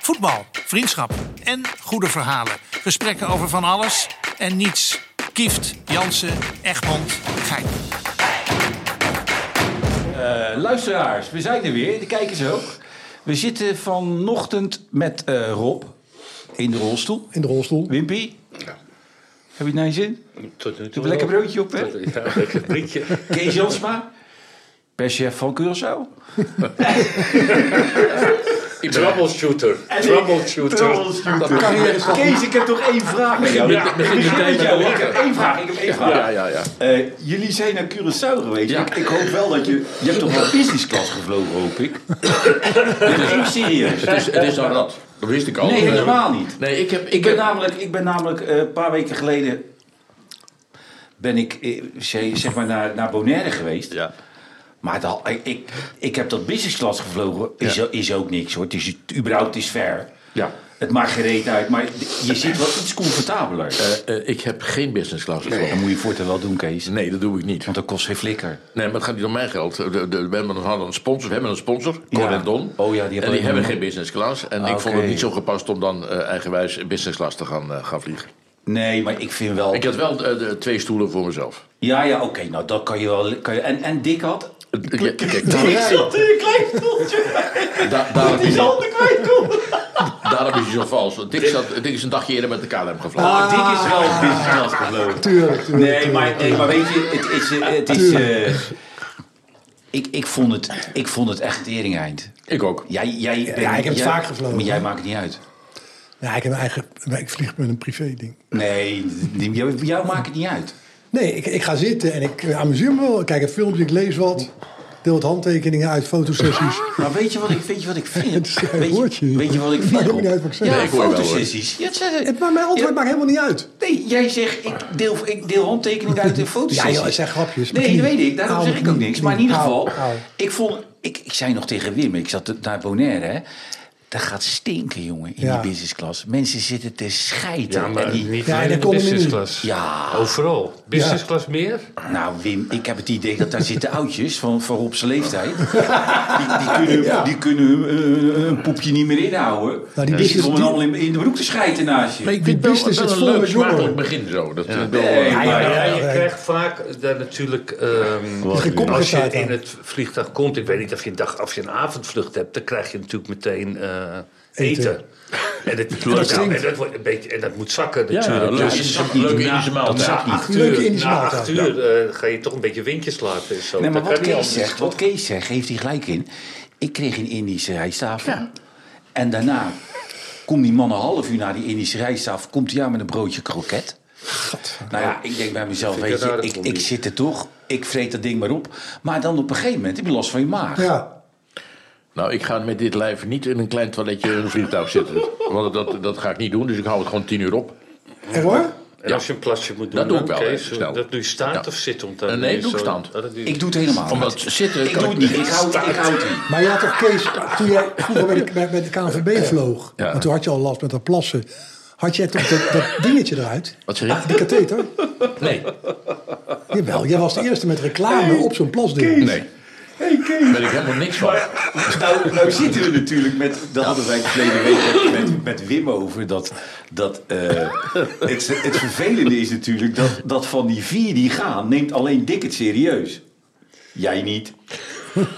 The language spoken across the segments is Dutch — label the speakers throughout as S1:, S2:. S1: Voetbal, vriendschap en goede verhalen. Gesprekken over van alles en niets. Kieft, Jansen, Egmond, Gein.
S2: Eh, luisteraars, we zijn er weer. De kijkers ook. We zitten vanochtend met eh, Rob in de rolstoel.
S3: In de rolstoel.
S2: Wimpy? Heb je het naar je zin?
S4: Tot nu toe.
S2: Doe een lekker broodje op, hè?
S4: Ja, lekker brietje.
S2: Kees Jansma? Perschef van Curaçao.
S4: Troubleshooter. Troubleshooter.
S2: Dat kan niet. Kees, ik heb toch één vraag aan jou.
S4: Ja,
S2: Ik begin
S4: meteen
S2: met
S4: met
S2: jou.
S4: de
S2: Ik heb één vraag. Ik heb één vraag.
S4: Ja, ja, ja.
S2: Eh, jullie zijn naar Curaçao geweest.
S4: Ja.
S2: Ik, ik hoop wel dat je... Je hebt toch wel business class gevlogen, hoop ik? Dit is niet serieus.
S4: Het is, het is een rat. Dat wist ik al.
S2: Nee, helemaal niet.
S4: Nee, ik heb...
S2: Ik
S4: Ik
S2: ben
S4: heb
S2: namelijk, ik ben namelijk eh, een paar weken geleden ben ik eh, ze- zeg maar naar, naar Bonaire geweest.
S4: ja.
S2: Maar dan, ik, ik, ik heb dat business class gevlogen. Is, is ook niks hoor. Het is überhaupt het is ver.
S4: Ja.
S2: Het maakt gereed uit. Maar je zit wel iets comfortabeler.
S4: Eh, eh, ik heb geen business class
S2: Dan
S4: gevlogen.
S2: moet je voortaan wel doen, Kees.
S4: Nee, dat doe ik niet.
S2: Want dat kost geen flikker.
S4: Nee, maar het gaat niet om mijn geld. De, de, we hebben- we hadden een sponsor, we hebben een sponsor, Corendon.
S2: Oh ja, die hebben
S4: en
S2: ook
S4: die hebben
S2: nog.
S4: geen business class. En ik
S2: Oké.
S4: vond het niet zo gepast om dan eh, eigenwijs business class te gaan, eh, gaan vliegen.
S2: Nee, maar ik vind wel.
S4: Ik had wel eh, de, twee stoelen voor mezelf.
S2: Ja, ja, oké. nou, dat kan je wel. Kan je... En, en Dick had.
S4: Ja, Kijk, daar-
S2: zat in een klein stoeltje.
S4: daar-
S2: Nou,
S4: daarom is hij-
S2: handen kwijt kon.
S4: daarom is hij zo vals. Want Dick, zat, Dick is een dagje eerder met de KLM gevlogen.
S2: Oh, Dick is wel business class gevlogen.
S3: Tuurlijk, tuurlijk.
S2: Nee, maar, nee, maar weet je, het is. eh, Het is eh, ik, ik, vond het, ik vond het echt tering eind.
S4: Ik ook.
S2: Jij, jij, ja,
S3: ik heb het vaak gevlogen,
S2: Maar jij
S3: hoor.
S2: maakt het niet uit.
S3: Ja, ik heb mijn eigen... maar Ik vlieg met een privé ding.
S2: Nee, die- jou, jou maakt het niet uit.
S3: Nee, ik, ik ga zitten en ik eh, amuseer me wel. Ik kijk een filmpje, ik lees wat. Deel wat handtekeningen uit, fotosessies.
S2: Maar weet je wat ik, weet je wat ik
S3: Het
S2: vind?
S3: is geen
S2: Weet
S3: woordje.
S2: je, weet je wat ik
S3: Het
S2: vind?
S3: maakt ook
S2: Rob?
S3: niet uit wat ik zeg.
S2: Ja,
S4: Nee, ik hoor je wel, hoor.
S2: fotosessies. Ja, het zijn-
S3: Het, maar mijn antwoord
S2: Ja.
S3: maakt helemaal niet uit.
S2: Nee, jij zegt, ik deel, ik deel handtekeningen uit in foto's.
S3: Ja, joh, het zijn grapjes.
S2: Nee,
S3: Knie.
S2: dat weet ik. Daarom
S3: Au,
S2: zeg ik ook
S3: knie,
S2: niks. Maar in ieder
S3: knie.
S2: geval,
S3: Au, au.
S2: ik vond... Ik, ik zei nog tegen Wim, ik zat naar Bonaire, hè. Dat gaat stinken, jongen, in
S3: Ja.
S2: die business class. Mensen zitten te scheiden.
S5: Ja, maar
S2: en die-
S5: niet
S3: Ja,
S5: alleen
S3: dat
S5: de
S3: kon
S5: business
S3: niet.
S5: class.
S2: Ja.
S5: Overal. Business
S3: Ja.
S5: class meer?
S2: Nou, Wim, ik heb het idee dat daar zitten oudjes van, van Rob's leeftijd. Die, die kunnen, die kunnen hun, eh, eh, een poepje niet meer inhouden.
S3: Nou, die
S2: die
S3: business-
S2: zitten om
S3: die-
S2: allemaal in, in de broek te schijten naast je.
S4: Maar ik
S3: Die
S4: vind wel,
S3: business
S4: wel
S3: is
S4: een
S3: vol
S4: leuk
S3: met jongeren.
S4: smakelijk begin zo. Dat, ik bedoel,
S2: Nee,
S4: eh,
S2: maar-
S5: Ja, ja,
S3: ja,
S5: je
S3: ja.
S5: krijgt vaak daar natuurlijk... ehm,
S3: gekoppige
S5: als je
S3: staat
S5: in
S3: aan.
S5: het vliegtuig komt, ik weet niet of je een dag of je een avondvlucht hebt, dan krijg je natuurlijk meteen eh, eten.
S3: Eten.
S5: En, dat, en,
S3: dat
S5: dat,
S3: stinkt.
S5: en dat wordt een beetje, en dat moet zakken
S4: ja,
S5: natuurlijk.
S4: leuk
S5: Dus
S4: Indische-
S2: zakt niet.
S4: leuke
S2: Ja,
S4: Indische
S2: dat
S4: maaltijd.
S2: zakt niet.
S5: acht
S3: Leuke
S5: uur,
S3: Indische
S5: na
S3: maaltijd.
S5: acht uur eh, ga je toch een beetje windjes laten. en Zo.
S2: Nee, maar
S5: Dat
S2: wat
S5: kan niet
S2: Kees
S5: anders.
S2: zegt, wat Kees zegt, geeft hij gelijk in. Ik kreeg een Indische rijsttafel. En daarna komt die man een half uur na die Indische rijsttafel... komt hij aan met een broodje kroket. Nou ja, ik denk bij mezelf,
S5: Vind ik
S2: weet
S5: een
S2: je,
S5: rare
S2: ik, ik
S5: combi.
S2: zit er toch. Ik vreet dat ding maar op. Maar dan op een gegeven moment heb je last van je maag.
S3: Ja.
S4: Nou, ik ga met dit lijf niet in een klein toiletje in een vliegtuig zitten. Want dat, dat ga ik niet doen, dus ik hou het gewoon tien uur op.
S3: Echt hoor?
S5: En als je een plasje moet doen,
S4: Dat doe ik
S5: dan
S4: wel,
S5: Kees,
S4: hè, snel.
S5: dat doe je staand
S4: Ja.
S5: of zit om dan
S4: Eh, nee,
S5: weer
S4: doe ik
S5: zo-
S4: staand.
S5: Oh, dat doe je-
S2: Ik doe het helemaal
S4: Omdat
S2: niet.
S4: zitten
S2: Ik
S4: kan
S2: doe het niet. Ik houd, ik houd het niet.
S3: Maar je had toch Kees, toen jij vroeger met de, met- met de KNVB vloog,
S4: Ja.
S3: en toen had je al last met dat plassen, had jij toch dat, dat dingetje eruit? Ah,
S4: Wat zeg je?
S3: Die katheter?
S4: Nee,
S3: Jawel, jij was de eerste met reclame op zo'n plasding.
S4: nee. Daar ben ik helemaal niks van.
S2: Nou, nou zitten we natuurlijk met. Daar hadden wij het verleden week met, met, met Wim over. Dat, dat, eh, het, het vervelende is natuurlijk dat, dat van die vier die gaan, neemt alleen Dick het serieus. Jij niet.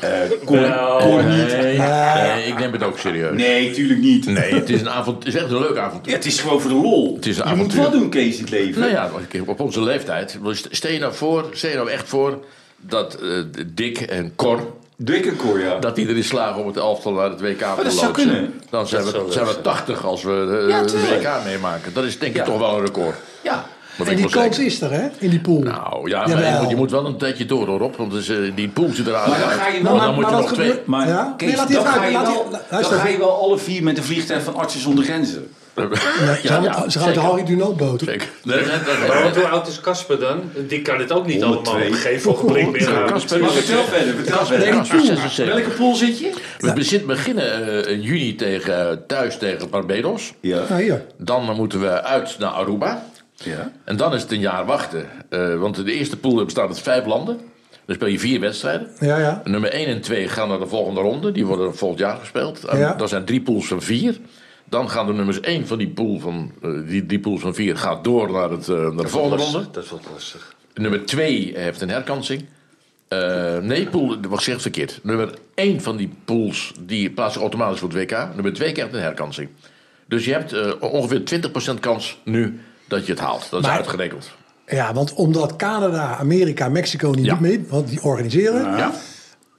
S2: Eh Cor, Cor niet.
S4: Nou, Nee, nee, ik neem het ook serieus.
S2: Nee, tuurlijk niet.
S4: Nee, het is, een avond, het is echt een leuk avontuur.
S2: Ja, het is gewoon voor de lol.
S4: Het is een
S2: je moet
S4: avontuur.
S2: wat doen, Kees, in het leven.
S4: Nou ja, want kijk, op onze leeftijd. Stel je nou voor, stel je nou echt voor dat eh Dick en Cor,
S2: Dick en Cor, ja.
S4: dat die erin slagen om het elftal naar het WK te
S2: dat zou
S4: loodsen.
S2: kunnen.
S4: Dan zijn we,
S5: zou
S4: zijn we
S5: leuk
S4: 80 als we eh,
S2: Ja,
S4: het
S2: tuurlijk.
S4: WK meemaken. Dat is denk ik
S2: Ja.
S4: toch wel een record.
S2: ja.
S4: Dat weet
S3: En
S4: ik
S3: die
S4: wel
S3: kans
S4: zeker.
S3: is er, hè? In die pool.
S4: Nou, ja, maar
S3: Jawel.
S4: je, moet, je moet wel een tijdje door, hoor, Rob. Want dus, eh, die poel zit eraan.
S2: Maar dan ga je wel-
S4: Want
S2: maar-
S4: dan moet
S3: maar
S4: je
S3: dat
S4: nog twee...
S3: gebeurt-
S2: Maar
S3: Ja?
S2: Kees,
S3: Nee, laat die
S2: dan,
S3: even
S2: ga
S3: uit,
S2: je
S3: laat die-
S2: wel,
S3: luister
S2: dan ga
S3: even.
S2: je wel alle vier met een vliegtuig van Artsen zonder Grenzen.
S3: Nee, ze
S4: Ja,
S3: hadden-
S4: ja,
S3: ze hadden
S4: zeker.
S3: Harry Dunant boot.
S4: Zeker. Nee, nee,
S5: Maar
S4: nee,
S5: want
S4: nee.
S5: hoe oud is Casper dan? Die kan het ook niet
S2: 102.
S5: allemaal op een gegeven ogenblik meer aan.
S4: Casper
S2: Maar
S4: is-
S2: vertel verder, vertel
S4: Nee,
S2: verder.
S4: Casper is 76.
S2: Welke pool zit je?
S4: We bezit- beginnen eh, in juni tegen, eh, thuis tegen Barbados.
S3: Nou, hier.
S4: Dan moeten we uit naar Aruba.
S2: Ja.
S4: En dan is het een jaar wachten. Eh, want de eerste pool bestaat uit vijf landen. Dan speel je vier wedstrijden.
S3: Ja, ja.
S4: Nummer 1 en 2 gaan naar de volgende ronde. Die worden volgend jaar gespeeld. En
S3: Ja.
S4: Dat zijn drie pools van vier. Dan gaan de nummers 1 van die pool van, eh, die, die pool van 4 gaat door naar, het, eh, naar de volgende ronde.
S5: Dat wordt lastig.
S4: Nummer 2 heeft een herkansing. Eh, nee, pool, dat was gezegd verkeerd. Nummer 1 van die pools die plaatst zich automatisch voor het WK. Nummer 2 krijgt een herkansing. Dus je hebt eh, ongeveer 20% kans nu dat je het haalt. Dat is
S3: Maar-
S4: uitgerekend.
S3: Ja, want omdat Canada, Amerika, Mexico niet
S4: Ja.
S3: doet mee, want die organiseren.
S4: Ja.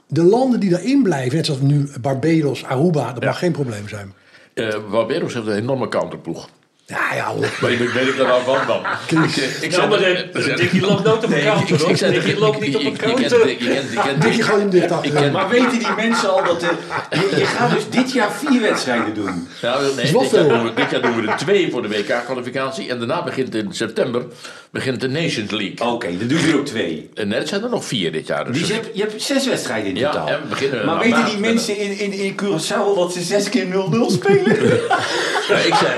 S3: De landen die daarin blijven, net zoals nu Barbados, Aruba, dat
S4: Ja.
S3: mag geen probleem zijn.
S4: Eh, Barbados heeft een enorme counterploeg.
S3: Ja, ja, hoor.
S4: Maar ik weet ik daar wel van, man. Ik, eh, ik
S5: Nou,
S4: zou-
S5: maar eh, Dickie loopt nooit op een counter, hoor.
S4: zei-
S5: Dickie loopt niet op
S4: ik-
S5: een
S4: ik- ik ken-
S5: counter.
S4: ik ken- ik ken-
S3: Dikkie, gooi hem dicht achter.
S4: Ik ken-
S2: Maar weten die mensen al dat... De, je, je gaat dus dit jaar vier wedstrijden doen.
S4: Ja, Nou, nee,
S3: wel
S4: dit, jaar
S3: veel.
S4: doen we, dit jaar doen we er twee voor de WK-kwalificatie. En daarna begint in september begint de Nations League.
S2: Oké, dan doe je er ook twee.
S4: En net zijn er nog vier dit jaar. Dus
S2: Dus je hebt, je hebt zes wedstrijden in
S4: Ja,
S2: totaal.
S4: en we beginnen
S2: maar
S4: aan
S2: weten
S4: maandag
S2: die
S4: met
S2: mensen in, in, in Curaçao dat ze zes keer 0-0 spelen?
S4: Ja, ik zei,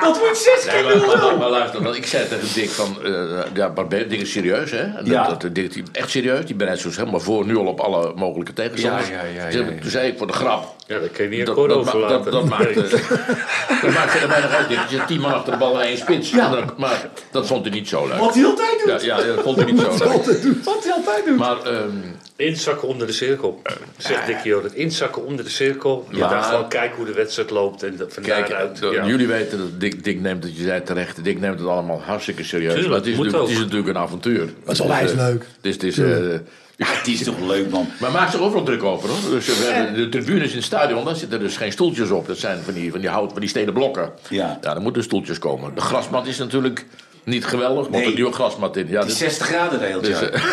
S2: dat wordt zes
S4: nee,
S2: keer 0-0.
S4: maar, maar- maar- maar luister, want ik zei tegen Dick van, eh ja, Barbe- Dick is serieus, hè? Dat,
S2: Ja.
S4: dat, Dick, die- echt serieus, die bereidt zich dus helemaal voor nu al op alle mogelijke tegenstanders.
S2: Ja, ja, ja,
S4: Toen zei
S2: ja,
S4: ik-
S2: ja.
S4: Toen zei ik voor de grap,
S5: Ja, dat kan je niet
S4: dat,
S5: akkoord
S4: dat, ma- dat,
S5: overlaten.
S4: dat maakt, eh, dat maakt verder weinig uit, Dick. Je hebt tien man achter de bal en één spits. En dan- maar dat vond hij niet zo leuk.
S2: Wat hij altijd
S4: Ja,
S2: doet.
S4: ja, dat vond hij niet zo leuk.
S2: Wat hij altijd doet.
S4: Maar ehm,
S5: Inzakken onder de cirkel, zegt Dickie ook. Het inzakken onder de cirkel.
S4: Ja.
S5: Ja. dan gewoon kijken hoe de wedstrijd loopt en dat- van
S4: Kijk,
S5: daaruit.
S2: eh,
S4: dat-
S5: ja.
S4: jullie weten dat Dick, Dick neemt het, je zei terecht, Dick neemt het allemaal hartstikke serieus.
S5: Tuurlijk,
S4: maar het is,
S5: moet
S4: natuurlijk,
S5: ook.
S4: het is natuurlijk een avontuur.
S3: Dat is onwijs leuk.
S4: Dus het is, eh,
S2: het is toch leuk, man.
S4: maar maak zich overal druk over hoor. Dus, eh, we hebben de tribunes in het stadion, daar zitten dus geen stoeltjes op. Dat zijn van die, van die hout, van die stenen blokken.
S2: Ja.
S4: ja, er moeten stoeltjes komen. De grasmat is natuurlijk niet geweldig, maar
S2: Nee.
S4: er nieuwe grasmat in. Ja,
S2: Het is
S4: dit-
S2: 60 graden de
S4: Dus,
S2: hele
S4: eh,
S2: tijd.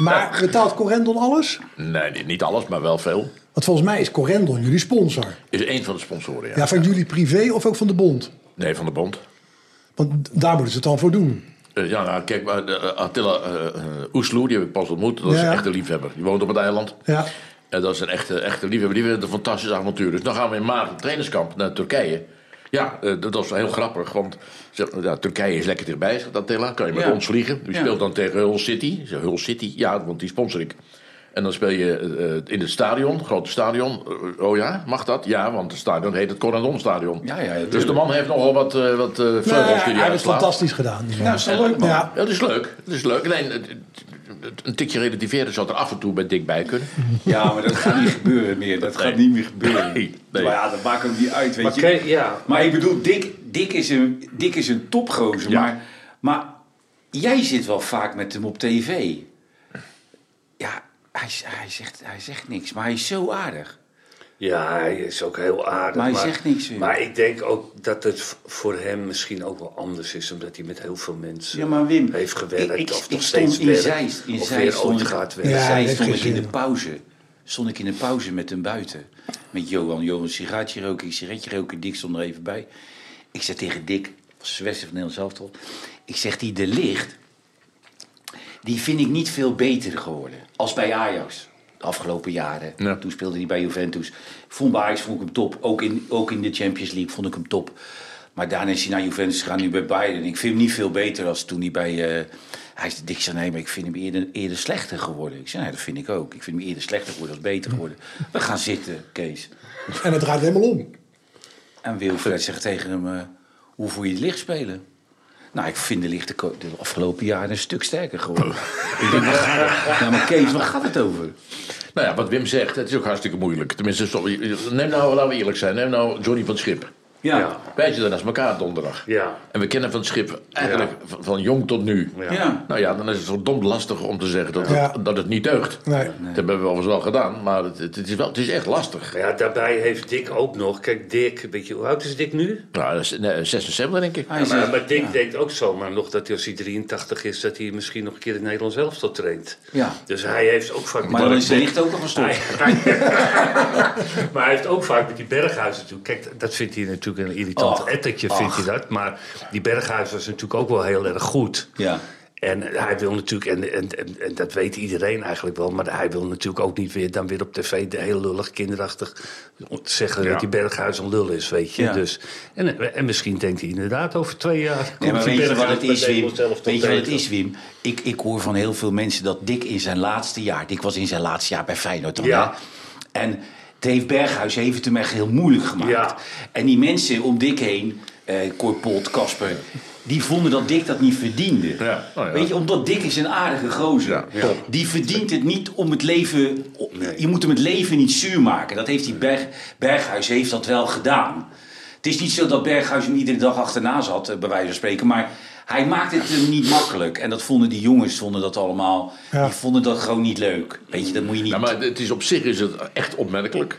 S3: Maar betaalt Corendon alles?
S4: nee, niet- niet alles, maar wel veel.
S3: Want volgens mij is Corendon jullie sponsor.
S4: Is één van de sponsoren, ja.
S3: Ja, van jullie privé of ook van de bond?
S4: Nee, van de bond.
S3: Want d- daar moeten ze het dan voor doen.
S4: Eh, ja, nou, kijk, maar de, eh, Attila eh, eh, Oesloe, die heb ik pas ontmoet. Dat is
S3: Ja, ja.
S4: een echte liefhebber. Die woont op het eiland.
S3: Ja.
S4: En dat is een echte, echte liefhebber. Die vindt het een fantastisch avontuur. Dus dan gaan we in maart op trainingskamp naar Turkije. Ja, eh, dat was heel grappig. Want zeg, ja, Turkije is lekker dichtbij, zegt Attila. Kan je met
S2: Ja.
S4: ons vliegen? Die
S2: Ja.
S4: speelt dan tegen Hull City. Ik zeg, Hull City? Ja, want die sponsor ik. En dan speel je eh, in het stadion, het grote stadion. Eh, oh ja, mag dat? Ja, want het stadion heet het Corendon Stadion.
S2: Ja, ja, ja,
S4: dus de man heeft nogal wat, eh wat eh, vleugels
S3: Nou,
S4: die
S3: hij
S4: hij
S3: heeft het
S4: uitslaat.
S3: fantastisch gedaan. die man.
S2: Nou, is toch leuk, man.
S3: Ja.
S4: Ja, dat is leuk. Dat is leuk. Alleen, het- het- een tikje relativeren zou er af en toe bij Dick bij kunnen.
S2: Ja, maar dat gaat niet gebeuren meer. Dat gaat niet meer gebeuren.
S4: Nee, nee.
S2: Maar ja, dat maakt ook niet uit, weet
S5: Maar
S2: je.
S5: kijk, ja.
S2: Maar ik bedoel, Dick, Dick, is, een, Dick is een topgozer.
S4: Ja.
S2: Maar, maar jij zit wel vaak met hem op tv. Ja, hij, z- hij, zegt, hij zegt niks, maar hij is zo aardig.
S5: Ja, hij is ook heel aardig.
S2: Maar hij zegt niks weer.
S5: Maar ik denk ook dat het v- voor hem misschien ook wel anders is. Omdat hij met heel veel mensen
S2: Ja, maar Wim,
S5: eh, heeft gewerkt.
S2: ik- ik-
S5: of
S2: ik stond
S5: nog steeds
S2: in
S5: werkt,
S2: Zeist, in
S5: of
S2: Zeist
S5: weer
S2: stond
S5: ooit
S2: ik-
S5: gaat werken.
S2: Ja,
S3: Ja,
S2: Zij
S3: heeft
S2: stond
S3: geen
S2: ik in de
S3: zin.
S2: pauze. Stond ik in de pauze met hem buiten. Met Johan. Johan een sigaretje roken, ik sigaretje roken. Dick stond er even bij. Ik zei tegen Dick, was de beste van Nederland zelf Ik zeg, die de licht, die vind ik niet veel beter geworden. Als bij Ajax. De afgelopen jaren.
S4: Ja.
S2: Toen speelde hij bij Juventus. Ik Vond bij Ajax vond ik hem top. Ook in, ook in de Champions League vond ik hem top. Maar daarna is hij naar Juventus gegaan, nu bij Bayern. Ik vind hem niet veel beter als toen hij bij... eh, hij is dik zei, nee, maar ik vind hem eerder, eerder slechter geworden. Ik zei, nee, dat vind ik ook. Ik vind hem eerder slechter geworden als beter geworden. We gaan zitten, Kees.
S3: En het draait helemaal om.
S2: En Wilfred zegt tegen hem, eh, hoe voel je de licht spelen? Nou, ik vind de licht de, ko- de afgelopen jaren een stuk sterker geworden. ik denk, waar- ja, maar Kees, waar gaat het over?
S4: Nou ja, wat Wim zegt, het is ook hartstikke moeilijk. Tenminste, sorry, neem nou, laten we eerlijk zijn, neem nou Johnny van het Schip.
S2: Ja.
S5: Ja.
S4: Wij zitten naast elkaar donderdag.
S5: Ja.
S4: En we kennen van het Schip eigenlijk van, van jong tot nu.
S5: Ja.
S2: Ja.
S4: Nou ja, dan is het verdomd lastig om te zeggen dat,
S3: Ja.
S4: het, dat het niet deugt.
S3: Nee.
S4: Dat hebben we overigens wel gedaan, maar het, het, is, wel, het is echt lastig.
S5: Maar ja, daarbij heeft Dick ook nog... Kijk, Dick, weet je, hoe oud is Dick nu?
S4: Nou, dat is- nee, 76 denk ik.
S2: Hij
S5: Ja,
S2: zegt,
S5: maar, maar Dick denkt ook zomaar nog dat hij als hij 83 is... dat hij misschien nog een keer in Nederland zelf tot traint.
S2: Ja.
S5: Dus hij heeft ook vaak...
S2: maar dan is de licht ook al gestopt.
S5: maar hij heeft ook vaak met die Berghuizen natuurlijk... Kijk, dat vindt hij natuurlijk een irritant
S2: Och,
S5: ettertje, vindt hij dat. Maar die Berghuis was natuurlijk ook wel heel erg goed.
S2: Ja.
S5: En hij wil natuurlijk, en, en, en, en dat weet iedereen eigenlijk wel... maar hij wil natuurlijk ook niet weer dan weer op tv de heel lullig, kinderachtig... zeggen dat die Berghuis een lul is, weet je.
S2: Ja.
S5: Dus, en, en misschien denkt hij inderdaad over twee jaar...
S2: Nee,
S5: komt
S2: maar
S5: die
S2: weet je wat
S5: Berghuis
S2: het
S5: bij
S2: is, Wim?
S5: Nederland zelf tot
S2: Weet je wat het
S5: eten.
S2: is, Wim? Ik, ik hoor van heel veel mensen dat Dick in zijn laatste jaar... Dick was in zijn laatste jaar bij Feyenoord dan,
S5: Ja.
S2: hè? En Dave Berghuis heeft het hem echt heel moeilijk gemaakt.
S5: Ja.
S2: En die mensen om Dick heen, eh Korpot, Kasper... Die vonden dat Dick dat niet verdiende.
S4: Ja, oh ja.
S2: Weet je, omdat Dick is een aardige gozer. Die verdient het niet om het leven... Je moet hem het leven niet zuur maken. Dat heeft die Berg, Berghuis heeft dat wel gedaan. Het is niet zo dat Berghuis hem iedere dag achterna zat, eh, bij wijze van spreken. Maar hij maakte het hem niet makkelijk. En dat vonden die jongens vonden dat allemaal...
S3: Ja.
S2: Die vonden dat gewoon niet leuk. Weet je, dat moet je niet...
S4: Ja, Nou, maar het is op zich is het echt opmerkelijk. Eh,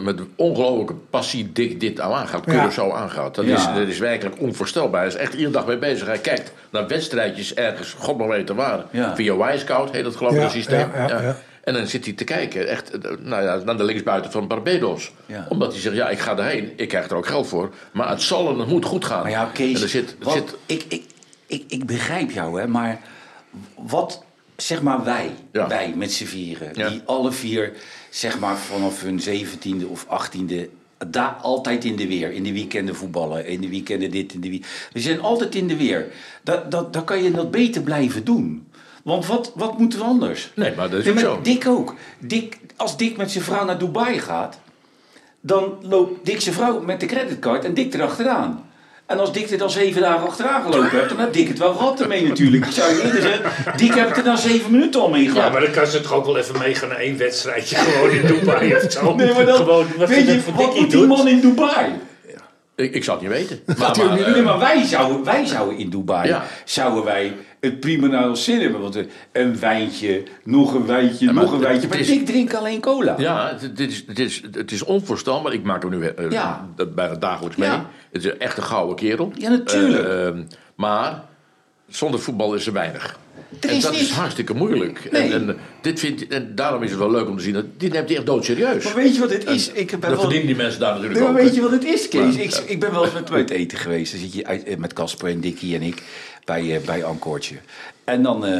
S4: met ongelooflijke passie dik dit aan aangaat,
S3: Ja.
S4: Curaçao aangaat. Dat,
S2: Ja.
S4: is, dat is werkelijk onvoorstelbaar. Hij is echt iedere dag mee bezig. Hij kijkt naar wedstrijdjes ergens, god maar weten waar.
S2: Ja.
S4: Via Wisecout heet dat geloof ik,
S3: Ja,
S4: dat systeem.
S3: ja, ja, ja.
S4: En dan zit hij te kijken, echt, eh, nou ja, naar de linksbuiten van Barbados.
S2: Ja.
S4: Omdat hij zegt, ja, ik ga erheen, ik krijg er ook geld voor. Maar het zal en het moet goed gaan.
S2: Maar ja, Kees,
S4: en er zit, er
S2: wat-
S4: zit,
S2: ik, ik, ik, ik begrijp jou, hè, maar wat zeg maar wij,
S4: Ja.
S2: wij met z'n vieren,
S4: Ja.
S2: die alle vier zeg maar vanaf hun zeventiende of achttiende daar altijd in de weer, in de weekenden voetballen, in de weekenden dit, in de wie. We zijn altijd in de weer. Dat, dat, dan kan je dat beter blijven doen. Want wat, wat moeten we anders?
S4: Nee, maar dat is
S2: Ja,
S4: ook
S2: maar
S4: zo.
S2: Dick ook. Dick, als Dick met zijn vrouw naar Dubai gaat, dan loopt Dick zijn vrouw met de creditcard en Dick erachteraan. En als Dick er dan zeven dagen achteraan gelopen hebt, dan heeft Dick het wel gehad ermee natuurlijk. Ik zou je eerder zeggen, Dick heeft er dan zeven minuten al mee
S5: Ja,
S2: gehad.
S5: maar dan kan ze toch ook wel even meegaan naar één wedstrijdje. Gewoon in Dubai of zo.
S2: nee, maar dan,
S5: gewoon, wat
S2: weet
S5: net
S2: je,
S5: voor
S2: wat
S5: Dickie
S2: moet die
S5: doet.
S2: man in Dubai?
S4: ik, ik zou het niet weten.
S2: Maar,
S4: maar, eh,
S2: nee, maar wij zouden, wij zouden in Dubai,
S4: Ja.
S2: zouden wij het prima naar ons zin hebben. Want eh, een wijntje, nog een wijntje,
S4: maar
S2: nog een
S4: het-
S2: wijntje. Maar
S4: het is-
S2: Dick drinkt alleen cola.
S4: Ja, het, dit is, dit is, het is onvoorstelbaar. Ik maak hem nu eh,
S2: Ja.
S4: eh, bijna dagelijks mee.
S2: Ja.
S4: Het is een echte gouden kerel.
S2: Ja, natuurlijk.
S4: Eh, ehm, maar zonder voetbal is er weinig.
S2: Er
S4: en
S2: is
S4: dat
S2: niet.
S4: is hartstikke moeilijk.
S2: Nee.
S4: En, en, dit vindt, en daarom is het wel leuk om te zien. dat- Dit neemt hij echt doodserieus.
S2: Maar weet je wat het is? Ik heb
S4: Dat
S2: wel-
S4: verdienen die mensen daar natuurlijk
S2: Nee, maar
S4: ook.
S2: weet je wat het is, Kees?
S4: Maar-
S2: ik, ik ben wel eens met hem uit eten geweest. Dan zit je uit- eh, met Casper en Dickie en ik bij, eh, bij Ankoortje. En dan, eh,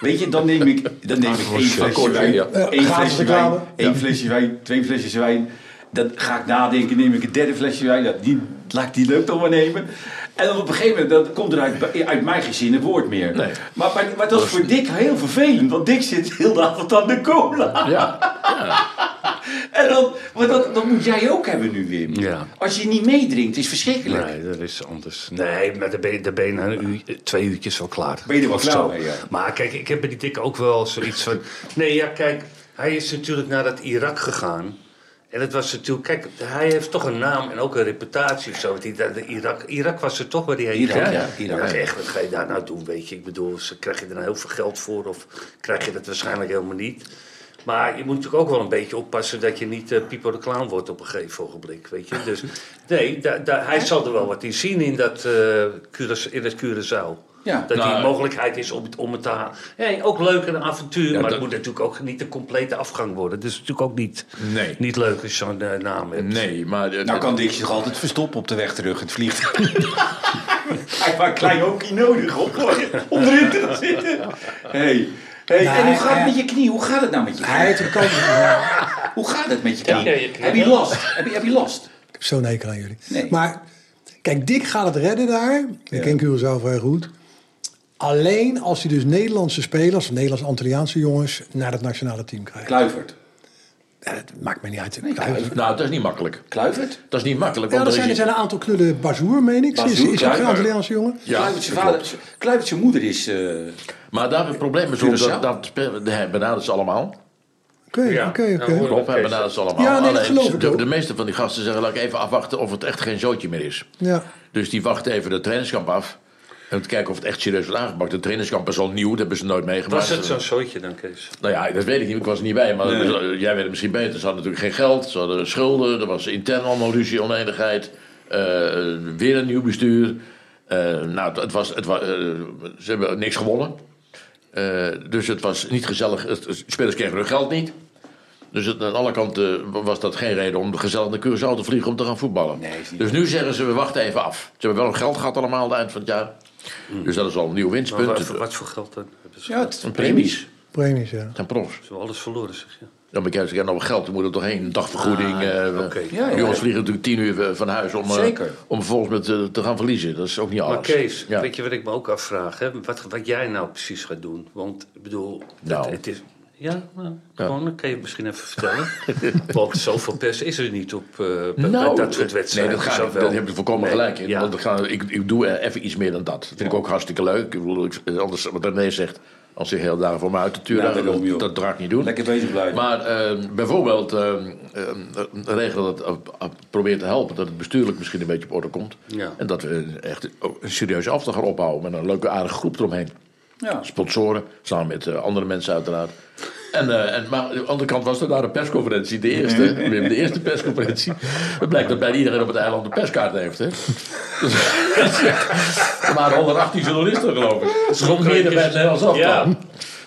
S2: weet je, dan neem ik, dan neem ik één flesje
S4: Ankoortje,
S2: wijn,
S4: ja.
S2: één
S3: Ja, gratis
S2: flesje wijn,
S3: reclame.
S2: één flesje wijn, twee flesjes wijn. Dan ga ik nadenken, neem ik een derde flesje wijn. Nou, Die, laat ik die leuk toch maar nemen. En dan op een gegeven moment dan komt er uit, uit mijn gezin een woord meer.
S4: Nee.
S2: Maar, maar, maar dat is voor Dick heel vervelend, want Dick zit heel de avond aan de cola.
S4: Ja,
S2: En dan, maar dat, dat moet jij ook hebben nu, Wim.
S5: Ja.
S2: Als je niet meedrinkt, is verschrikkelijk.
S5: Nee, dat is anders. Nee, maar daar ben je, daar ben je na een uur, twee uurtjes wel klaar.
S2: Ben je er wel
S5: Of
S2: klaar
S5: zo.
S2: mee, ja.
S5: Maar kijk, ik heb bij die dikke ook wel zoiets van... Nee, ja, kijk, hij is natuurlijk naar dat Irak gegaan. En het was natuurlijk... Kijk, hij heeft toch een naam en ook een reputatie of zo. Want die, dat- de Irak, Irak was er toch waar hij heen
S2: Irak,
S5: ging.
S2: ja, Irak.
S5: Ik dacht echt, wat ga je daar nou doen, weet je? Ik bedoel, ze- krijg je er nou heel veel geld voor of krijg je dat waarschijnlijk helemaal niet? Maar je moet natuurlijk ook wel een beetje oppassen dat je niet eh, Pipo de Clown wordt op een gegeven ogenblik, weet je? Dus nee, da, da- hij zal er wel wat in zien in dat, eh Curaçao, in dat Curaçao.
S2: Ja.
S5: dat
S4: Nou,
S5: die mogelijkheid is om het, om het te halen. Hey, ook leuk een avontuur, maar
S4: dat-
S5: het moet natuurlijk ook niet de complete afgang worden. Dus natuurlijk ook niet,
S4: Nee.
S5: niet leuk als je zo'n eh, naam hebt.
S4: nee, maar... eh,
S2: Nou kan Dick zich altijd verstoppen op de weg terug in het vliegtuig. Hij heeft maar een klein hoekje nodig om, om erin te gaan zitten. Hey. Hey,
S3: Nou,
S2: en hoe
S3: hij-
S2: gaat het
S3: hij-
S5: eh,
S2: met je knie? Hoe gaat het nou met je
S3: Hij
S2: knie?
S3: heeft een kans. Ik
S2: Hoe gaat het met je knie?
S5: Ja, ja, je knie,
S2: heb je
S5: ja.
S2: last? Heb je, heb je last?
S3: heb zo'n hekel aan jullie.
S2: Nee.
S3: Maar kijk, Dick gaat het redden daar. Ik ken Curaçao vrij goed. Alleen als hij dus Nederlandse spelers, Nederlands-Antilliaanse jongens, naar het nationale team krijgt.
S2: Kluivert.
S3: Ja, dat maakt me niet uit.
S4: Nou, dat is niet makkelijk.
S2: Kluivert?
S4: Dat is niet makkelijk.
S3: Ja,
S4: Want
S3: er
S4: er
S3: zijn, er
S4: is-
S3: zijn een aantal knullen. Bazoer, meen ik. Is,
S2: Bazoer,
S3: is ook een
S2: Kluivert.
S3: Antilliaanse jongen.
S4: Ja,
S2: Kluivert, zijn
S4: dat
S2: vader, Kluivert, zijn moeder is... eh,
S4: Maar daar hebben we problemen zo.
S2: Curaçao?
S4: Dat, dat spelen- nee, benaderen ze allemaal.
S3: Oké,
S5: Ja.
S3: oké,
S5: Ja,
S3: oké.
S5: hoor.
S4: Klopt, hebben benaderen ze allemaal.
S3: Ja, nee, dat
S4: Alleen,
S3: geloof ik
S4: de,
S3: ook.
S4: de meeste van die gasten zeggen, laat ik even afwachten of het echt geen zootje meer is.
S3: Ja.
S4: Dus die wachten even de trainingskamp af. Om te kijken of het echt serieus wordt aangepakt. De trainingskamp is al nieuw, dat hebben ze nooit meegemaakt.
S5: Was het zo'n zootje dan, Kees?
S4: Nou ja, dat weet ik niet, ik was er niet bij. Maar eh, jij weet het misschien beter. Ze hadden natuurlijk geen geld, ze hadden schulden. Er was intern allemaal ruzie, oneenigheid. eh, weer een nieuw bestuur. Eh, nou, het- het was, het was, eh, ze hebben niks gewonnen. Eh, dus het was niet gezellig. Het- De spelers kregen hun geld niet. Dus het- aan alle kanten was dat geen reden om gezellig naar Curaçao te vliegen om te gaan voetballen.
S2: Nee, is niet
S4: dus nu zeggen ze, we wachten even af. Ze hebben wel geld gehad allemaal aan het eind van het jaar. Dus dat is al een nieuw
S5: Maar
S4: winstpunt.
S5: wat, wat voor geld dan? Hebben ze,
S2: ja, het
S4: Een premies.
S3: Premies, ja.
S4: Het zijn profs.
S5: ze hebben alles verloren, zeg je?
S4: Ja, maar kijk, ze hebben nog wel geld, dan moet er toch heen. Een dagvergoeding. eh,
S5: oké.
S4: we-
S2: Ja, ja.
S4: Jongens vliegen natuurlijk tien uur eh, van huis om, eh,
S2: Zeker.
S4: om vervolgens met, eh, te gaan verliezen. Dat is ook niet alles.
S5: Maar Kees,
S4: Ja.
S5: weet je wat ik me ook afvraag? Hè? Wat, wat jij nou precies gaat doen? Want ik bedoel,
S4: Nou.
S5: het, het is, Ja, nou, gewoon, dat kan je misschien even vertellen. Want zoveel pers is er niet op eh, bij, bij dat soort wedstrijden.
S4: Nou, Nee, dat,
S5: Dus
S4: gaat,
S5: wel-
S4: dat heb je volkomen
S5: Nee,
S4: gelijk. in.
S5: ja.
S4: Want we gaan, ik, ik doe er even iets meer dan dat. Dat vind ik ook hartstikke leuk. Ik bedoel, ik- eh, anders, wat René zegt, als je heel dagen voor me uit de tuur
S2: Nou,
S4: hangt,
S2: daarom, joh.
S4: dat, dat draag ik niet doen.
S2: Lekker bezig blijven.
S4: Maar eh, bijvoorbeeld eh, eh, regel dat eh, probeer te helpen dat het bestuurlijk misschien een beetje op orde komt.
S5: Ja.
S4: En dat we echt ook een serieuze afslag gaan opbouwen met een leuke aardige groep eromheen.
S2: Ja.
S4: Sponsoren, samen met eh, andere mensen uiteraard. En, eh, en, maar aan de andere kant was er daar een persconferentie, de eerste. Wim, de eerste persconferentie. Het blijkt dat bijna iedereen op het eiland een perskaart heeft. Hè? Dus, er waren 118 journalisten, geloof ik. Het is meer dan bij het Nederlands aftal.
S5: Ja.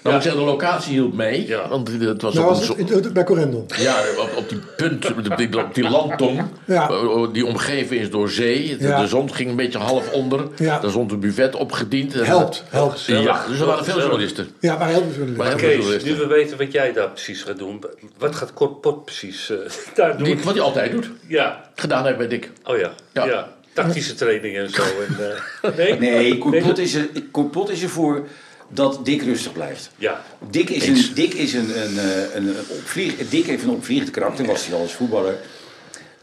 S4: Dan moet ik zeggen, de locatie hielp mee.
S5: Ja.
S4: Want het was
S3: Nou,
S4: op
S3: was
S4: een zo-
S3: het, het- het- bij Corendon.
S4: ja, op, op die punt, op die, op die landtong,
S3: Ja.
S4: eh, die omgeven is door zee. De,
S3: Ja.
S4: de zon ging een beetje half onder.
S3: Ja.
S4: Daar stond een buffet opgediend. En-
S3: Helpt, helpt.
S4: Ja, dus er waren veel
S5: Gezellig.
S4: journalisten.
S3: Ja, maar heel veel.
S4: Maar heel veel
S5: Kees, nu
S4: journalisten.
S5: we weten wat jij daar precies gaat doen. Wat gaat Cor Pot precies eh, daar doen?
S4: Die, wat hij altijd doet.
S5: Ja,
S4: Gedaan heeft bij Dick.
S5: oh ja.
S4: Ja.
S5: ja. Tactische training en zo. En, eh, nee?
S2: Nee, Corpot
S5: dat-
S2: is, er, Corpot is ervoor dat Dick rustig blijft.
S5: Ja.
S2: Dick is, een, Dick is een, een, eh, een, een opvlieg, Dick heeft een opvliegend karakter, was hij al als voetballer.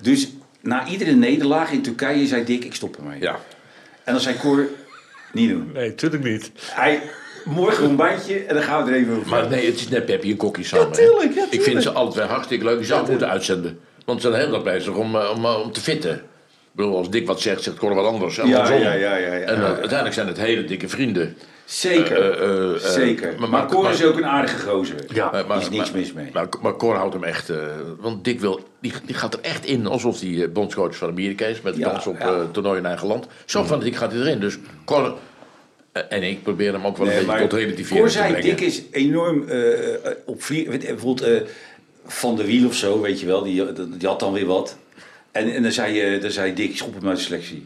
S2: Dus na iedere nederlaag in Turkije zei Dick, ik stop ermee.
S4: Ja.
S2: En dan zei Cor, niet doen.
S5: Nee, tuurlijk niet.
S2: Hij, morgen ontbijtje en dan gaan we er even over.
S4: Maar nee, het is net Peppy en Kokkie samen. hè.
S2: tuurlijk, ja,
S4: Ik vind
S2: tuurlijk.
S4: ze altijd hartstikke leuk. Je zou het moeten uitzenden. Want ze zijn heel erg bezig om, eh, om, eh, om te fitten. Ik bedoel, als Dick wat zegt, zegt Cor wat anders. En
S2: Ja,
S4: andersom.
S2: ja, ja, ja, ja.
S4: En eh, uiteindelijk zijn het hele dikke vrienden.
S2: Zeker,
S4: Eh, eh, eh,
S2: zeker.
S4: maar-
S2: maar,
S4: maar-
S2: Cor
S4: maar- Eh,
S2: is ook een aardige gozer.
S5: Ja.
S4: Maar-
S2: is niks mis mee.
S4: Maar, maar Cor houdt hem echt. eh, want Dick wil, die, die gaat er echt in alsof hij eh, bondscoach van Amerika is. Met de
S2: Ja,
S4: kans op
S2: ja.
S4: eh, toernooi in eigen land. Zo van Dick gaat hij erin. Dus Cor eh, en ik proberen hem ook wel een beetje tot relativeren
S2: Cor
S4: te
S2: zei,
S4: brengen.
S2: Dick is enorm eh, eh, op vlieg... weet- eh, Bijvoorbeeld eh, Van der Wiel of zo, weet je wel. Die, eh, die had dan weer wat. En, en dan, zei, eh, dan zei Dick, schop hem uit de selectie.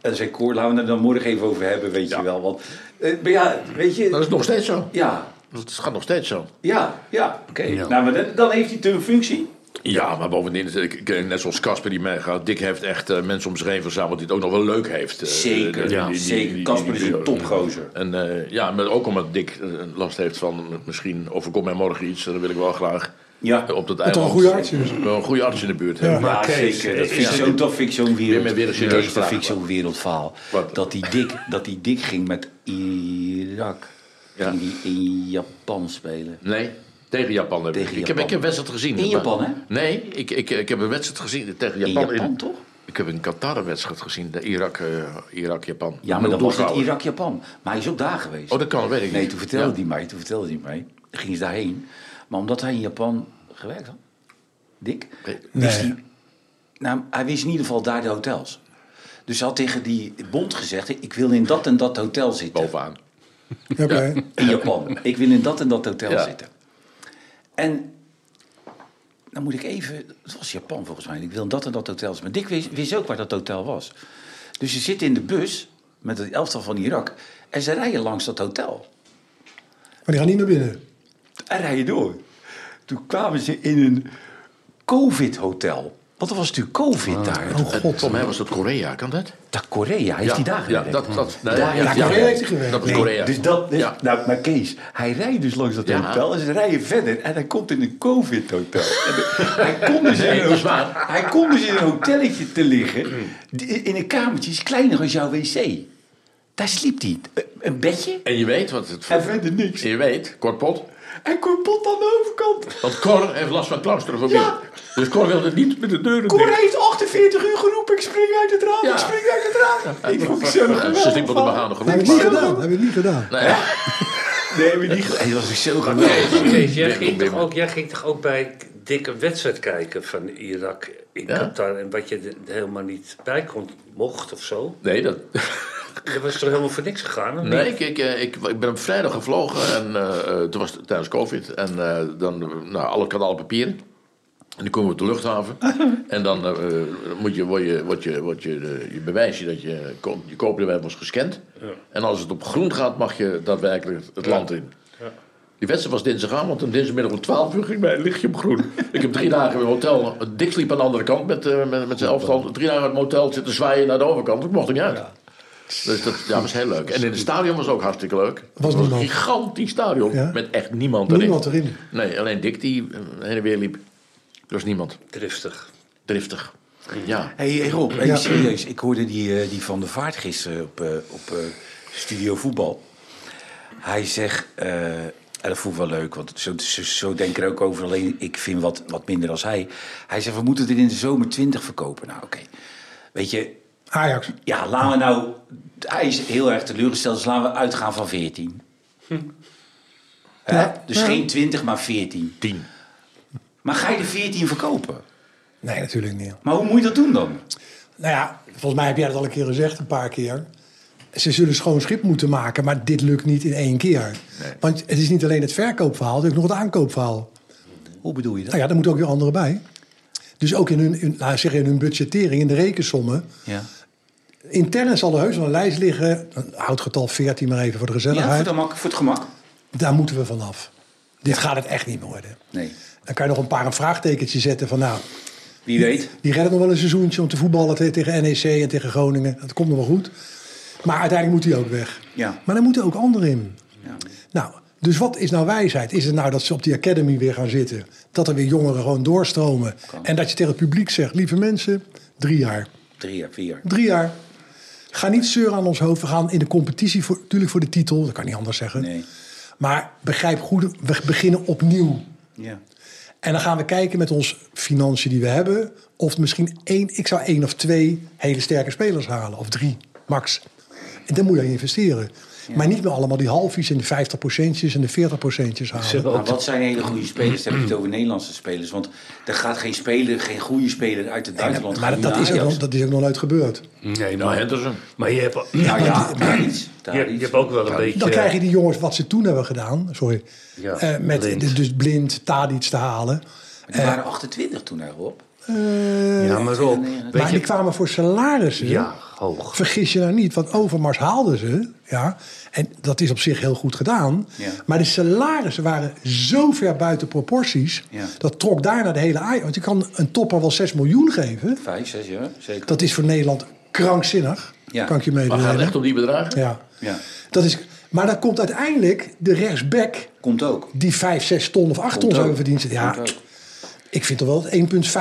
S2: En dan zei Cor, laten we het er dan morgen even over hebben, weet je wel. Want, eh, maar ja, weet
S4: Dat
S2: je...
S4: is nog steeds zo.
S2: Ja,
S4: Dat gaat nog steeds zo.
S2: ja, ja, oké. Nou, maar dan, dan heeft hij natuurlijk een functie.
S4: Ja, maar bovendien, ik- ik- net zoals Casper die meegaat, Dick heeft echt eh, mensen om zich heen verzameld die het ook nog wel leuk heeft. eh,
S2: Zeker,
S4: eh, die-
S2: ja,
S4: die- die-
S2: zeker.
S4: die- die-
S2: Casper
S4: die-
S2: is een
S4: die-
S2: topgozer.
S4: En eh, ja, maar ook omdat Dick eh, last heeft van misschien overkomt mij morgen iets, eh, dan wil ik wel graag
S2: Ja.
S4: eh, op dat
S3: Dat
S4: eiland.
S3: er een goede arts is.
S4: wel een goede arts in de buurt
S3: Ja.
S4: hebben.
S2: Ja,
S5: Maar Kees,
S2: zeker. Dat
S5: eh,
S2: vind ik
S5: is
S2: zo- dat vind ik zo'n
S4: Weer met weer een
S2: wereld.
S4: serieuze
S2: Kees, Dat
S4: vraag.
S2: vind ik zo'n wereldverhaal.
S4: Wat?
S2: Dat die dik, dat die dik ging met Irak.
S4: Ja.
S2: Ging die in Japan spelen.
S4: Nee, tegen Japan heb ik.
S2: Tegen
S4: Ik heb, ik
S2: Japan.
S4: heb een wedstrijd gezien.
S2: In
S4: Maar-
S2: Japan, hè?
S4: Nee, ik, ik, ik heb een wedstrijd gezien tegen
S2: In
S4: Japan.
S2: Japan, toch?
S4: Ik heb een Qatar een wedstrijd gezien, de Irak, eh, Irak-Japan.
S2: Ja, maar dan was het
S4: Doelvrouwen.
S2: Irak-Japan. Maar hij is ook daar geweest.
S4: Oh, dat kan, weet ik
S2: nee,
S4: niet.
S2: toen vertelde
S4: Ja.
S2: hij mij, toen vertelde hij mij. Dan gingen ze daarheen. Maar omdat hij in Japan gewerkt had, Dick, wist
S3: Nee.
S2: hij... Nou, hij wist in ieder geval daar de hotels. Dus hij had tegen die bond gezegd... ik wil in dat en dat hotel zitten.
S4: Bovenaan.
S3: Oké.
S2: in Japan. Ik wil in dat en dat hotel
S4: Ja.
S2: zitten. En dan moet ik even. Het was Japan volgens mij. Ik wil in dat en dat hotel zitten. Maar Dick wist, wist ook waar dat hotel was. Dus ze zitten in de bus met het elftal van Irak. En ze rijden langs dat hotel.
S3: Maar die gaan niet naar binnen.
S2: En rijden door. Toen kwamen ze in een COVID-hotel. Want er was natuurlijk COVID
S4: Ah.
S2: daar.
S3: Oh god.
S4: Voor mij was dat Korea, kan dat?
S2: Dat Korea heeft die dagen
S4: ja, dat, dat, nee, ja,
S3: ja, Korea heeft hij gewerkt.
S4: Dat was
S2: Nee,
S4: Korea.
S2: Dus dat, dus-
S4: ja.
S2: nou, maar Kees, hij rijdt dus langs dat
S4: Ja.
S2: hotel en ze rijden verder en hij komt in een COVID-hotel. En de- hij, komt dus in
S4: Nee,
S2: een,
S4: dat is waar.
S2: hij komt dus in een hotelletje te liggen, die- in een kamertje, is kleiner als jouw wc. Daar sliep hij. Een- Een bedje
S4: En je weet wat het...
S2: en verder niks.
S4: En je weet, Kortpot,
S2: En komt pot aan de overkant.
S4: want Cor heeft last van claustrofobie.
S2: Ja.
S4: Dus Cor wilde niet met de deuren
S2: Cor
S4: dicht.
S2: heeft 48 uur geroepen, ik spring uit het raam,
S4: Ja.
S2: ik spring uit het raam. Ik vond het zo
S4: Ja, dus Ze
S2: geweldig.
S4: sliep op de
S2: man.
S4: begaande
S3: Heb je
S4: grond.
S3: het niet
S4: maar-
S3: gedaan? Heb je het niet gedaan?
S4: Nee,
S2: Nee, maar die hey, dat was ik zo geweldig.
S5: Kees, Kees, jij,
S4: Wim,
S5: ging
S4: Wim.
S5: toch ook, jij ging toch ook bij Dick een wedstrijd kijken van Irak in
S4: Ja.
S5: Qatar. En wat je er helemaal niet bij kon, mocht of zo.
S4: nee, dat,
S5: Dat was toch helemaal voor niks gegaan? of
S4: nee
S5: niet?
S4: ik, ik, eh, ik, ik ben vrijdag gevlogen en eh, eh, toen was het tijdens COVID. En eh, dan, eh, nou, alle kanalen papieren. En dan komen we op de luchthaven. en dan eh, eh, moet je, word je, word je, word je, eh, je bewijsje dat je, ko- je koopbeleid was gescand. En als het op groen gaat, mag je daadwerkelijk het- het land in. Die wedstrijd was dinsdagavond en dinsdagmiddag om 12 uur ging mijn lichtje op groen. ik heb drie dagen in een hotel. Dick sliep aan de andere kant met, eh, met, met zijn elftal. Drie dagen in het motel zitten zwaaien naar de overkant. Ik mocht er niet uit. Dus dat ja, was heel leuk. En in het stadion was het ook hartstikke leuk.
S3: Was
S4: het was een
S3: niemand.
S4: gigantisch stadion
S3: Ja.
S4: met echt niemand erin.
S3: Niemand erin.
S4: Nee, alleen Dick die eh, heen en weer liep. Er was niemand.
S5: Driftig.
S4: Driftig. Ja.
S2: Hé hey, Rob, hey,
S3: Ja.
S2: serieus. Ik hoorde die, eh, die Van der Vaart gisteren op, eh, op eh, Studio Voetbal. Hij zegt, eh, en dat voelt wel leuk, want zo, zo, zo denk ik er ook over. Alleen ik vind wat, wat minder als hij. Hij zegt, we moeten dit in de zomer 20 verkopen. Nou, oké. Weet je,
S3: Ajax.
S2: ja, laten we nou... Hij is heel erg teleurgesteld, dus laten we uitgaan van 14. Hè?
S3: Ja.
S2: Dus
S3: Ja.
S2: geen 20, maar 14.
S4: 10.
S2: Maar ga je de 14 verkopen?
S3: Nee, natuurlijk niet.
S2: Maar hoe moet je dat doen dan?
S3: Nou ja, volgens mij heb jij dat al een keer gezegd, een paar keer. Ze zullen schoon schip moeten maken, maar dit lukt niet in één keer. Want het is niet alleen het verkoopverhaal, het is ook nog het aankoopverhaal.
S2: Hoe bedoel je dat?
S3: Nou ja, daar moeten ook weer anderen bij. Dus ook in hun, in, laat ik zeggen, in hun budgettering, in de rekensommen.
S2: Ja.
S3: Intern zal er heus wel een lijst liggen. Houd getal 14 maar even voor de
S2: Ja, voor,
S3: gezelligheid.
S2: de mak- voor het gemak.
S3: Daar moeten we vanaf. Dit gaat het echt niet meer worden.
S2: Nee.
S3: Dan kan je nog een paar een vraagtekentje zetten van nou,
S2: Wie weet.
S3: Die redden nog wel een seizoentje om te voetballen te- tegen NEC en tegen Groningen. Dat komt nog wel goed. Maar uiteindelijk moet hij ook weg.
S2: Ja.
S3: Maar dan moeten ook anderen in.
S2: Ja.
S3: Nou, dus wat is nou wijsheid? Is het nou dat ze op die academy weer gaan zitten? Dat er weer jongeren gewoon doorstromen? En dat je tegen het publiek zegt, lieve mensen, drie jaar.
S2: Drie of vier.
S3: Drie jaar. Ga niet zeuren aan ons hoofd. We gaan in de competitie, voor, natuurlijk voor de titel. Dat kan niet anders zeggen.
S2: Nee.
S3: Maar begrijp goed, we beginnen opnieuw.
S2: Ja.
S3: En dan gaan we kijken met onze financiën die we hebben. Of misschien één, ik zou één of twee hele sterke spelers halen. Of drie, max. En dan moet je in investeren. Maar niet meer allemaal die halfjes en de 50 procentjes en de 40 procentjes halen.
S2: Maar wat zijn hele goede spelers? Dan heb je het over Nederlandse spelers. Want er gaat geen speler, geen goede speler uit het buitenland. gaan
S3: Maar
S2: nu
S3: dat
S2: naar
S3: is, ook,
S2: Ajax.
S3: nog- dat is ook nog nooit gebeurd.
S5: Nee,
S4: Nou,
S5: maar,
S4: Henderson.
S5: maar je, hebt,
S2: Nou ja, daar iets.
S5: je,
S2: Daar
S5: je
S2: iets.
S5: hebt ook wel een beetje...
S3: Dan krijg je die jongens wat ze toen hebben gedaan. Sorry.
S5: eh, Ja,
S3: Eh, met
S5: blind.
S3: de- dus blind Tadic te halen.
S2: Die waren 28 toen daarop.
S3: Eh,
S5: Ja, maar Rob, weet
S3: maar
S5: je...
S3: die kwamen voor salarissen.
S5: Ja, hoog.
S3: Vergis je nou niet, want Overmars haalden ze. Ja, en dat is op zich heel goed gedaan.
S2: Ja.
S3: Maar de salarissen waren zo ver buiten proporties.
S2: Ja.
S3: Dat trok daarna de hele Ajax. Want je kan een topper wel 6 miljoen geven.
S2: Vijf, zes jaar, zeker.
S3: Dat is voor Nederland krankzinnig.
S2: Ja.
S3: Kan ik je
S4: Maar gaat het echt
S3: meedelen.
S4: om die bedragen?
S3: Ja.
S2: Ja.
S3: Dat is, maar dan komt uiteindelijk de rechtsback
S2: Komt ook.
S3: die 5, 6 ton of 8 ton
S2: Komt
S3: zou
S2: ook.
S3: hebben verdiend. Ja,
S2: Komt ook.
S3: ik vind toch wel dat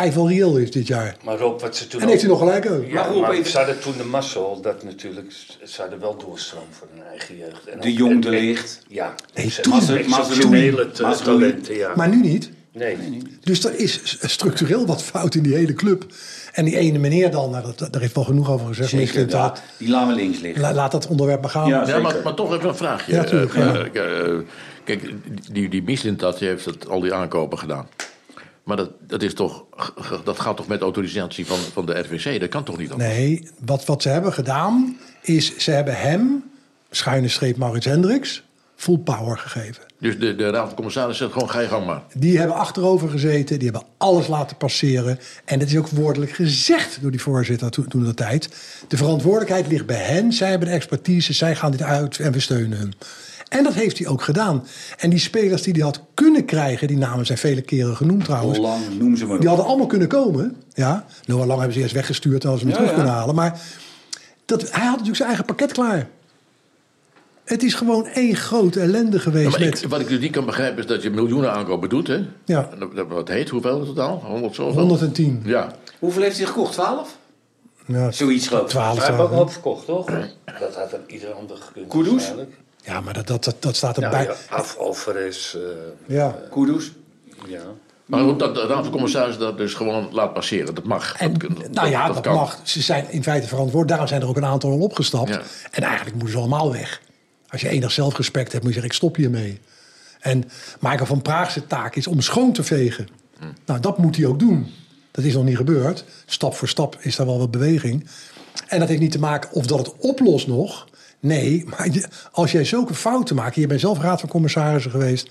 S3: 1,5 wel reëel is dit jaar.
S5: Maar Rob, wat ze toen
S3: En
S2: Nou.
S3: heeft u
S5: ook-
S3: nog gelijk ook.
S5: Ja,
S2: Maar Rob,
S5: maar
S2: even-
S5: ze hadden toen de massa al dat natuurlijk... Ze hadden wel doorstroom voor hun eigen jeugd. En
S2: De
S5: ook-
S2: Jong,
S5: en-
S2: De Ligt.
S5: Ja.
S3: Nee,
S5: Ze-
S3: toen.
S5: Mazzel- Exceptionele
S2: Toen.
S5: te- talenten, ja.
S3: Maar nu niet.
S5: Nee.
S3: Dus er is structureel wat fout in die hele club. En die ene meneer dan, nou, dat, daar heeft wel genoeg over gezegd.
S2: Zeker,
S3: misschien
S2: ja.
S3: dat-
S2: Die laten we links liggen.
S3: la- laat dat onderwerp maar gaan.
S2: Ja.
S4: Ja, maar,
S2: Zeker.
S4: maar toch even een vraagje.
S3: Ja, tuurlijk,
S4: Eh,
S3: ja.
S4: eh, eh, kijk, die, die Mislintat die heeft het, al die aankopen gedaan. Maar dat, dat, is toch, g- g- dat gaat toch met autorisatie van, van de RVC? Dat kan toch niet anders?
S3: Nee, wat, wat ze hebben gedaan is ze hebben hem, schuine streep Maurits Hendricks, full power gegeven.
S4: Dus de, de Raad van Commissarissen zegt gewoon ga je gang maar.
S3: Die hebben achterover gezeten, die hebben alles laten passeren. En dat is ook woordelijk gezegd door die voorzitter toen, toen de tijd. De verantwoordelijkheid ligt bij hen, zij hebben de expertise, zij gaan dit uit en we steunen hun. En dat heeft hij ook gedaan. En die spelers die hij had kunnen krijgen, die namen zijn vele keren genoemd
S2: Hoe
S3: trouwens.
S2: lang noem ze maar
S3: Die
S2: op.
S3: hadden allemaal kunnen komen. Ja. Noah Lang hebben ze eerst weggestuurd en hadden ze
S2: Ja,
S3: hem terug
S2: ja.
S3: kunnen halen. Maar dat, hij had natuurlijk zijn eigen pakket klaar. Het is gewoon één grote ellende
S4: Ja,
S3: geweest.
S4: maar ik-
S3: met
S4: wat ik dus niet kan begrijpen is dat je miljoenen aankopen doet. Hè?
S3: Ja.
S4: En dat- Wat heet, hoeveel in totaal? 100 zoveel?
S3: 110.
S4: Ja.
S2: Hoeveel heeft hij gekocht? 12?
S3: Ja,
S2: Zoiets groot.
S3: 12
S5: Ze hebben ook
S3: zouden-
S5: wel verkocht, toch? Dat had een ieder ander gekund.
S2: Kudus?
S5: waarschijnlijk.
S3: Ja, maar dat, dat, dat, dat staat
S5: Nou
S3: erbij.
S5: ja, af Alvarez. eh,
S3: Ja.
S2: Kudus?
S5: ja.
S4: Maar goed, dat de Raad van Commissarissen dat dus gewoon laat passeren. Dat mag.
S3: En,
S4: dat, dat-
S3: nou ja,
S4: dat
S3: dat,
S4: kan.
S3: mag. Ze zijn in feite verantwoord. Daarom zijn er ook een aantal al opgestapt.
S4: Ja.
S3: En eigenlijk moeten ze allemaal weg. Als je enig zelfrespect hebt, moet je zeggen, ik stop hiermee. En Michael van Praagse taak is om schoon te vegen.
S4: Hm.
S3: Nou, dat moet hij ook doen. Dat is nog niet gebeurd. Stap voor stap is daar wel wat beweging. En dat heeft niet te maken of dat het oplost nog. Nee, maar je- als jij zulke fouten maakt... Je bent zelf raad van commissarissen geweest.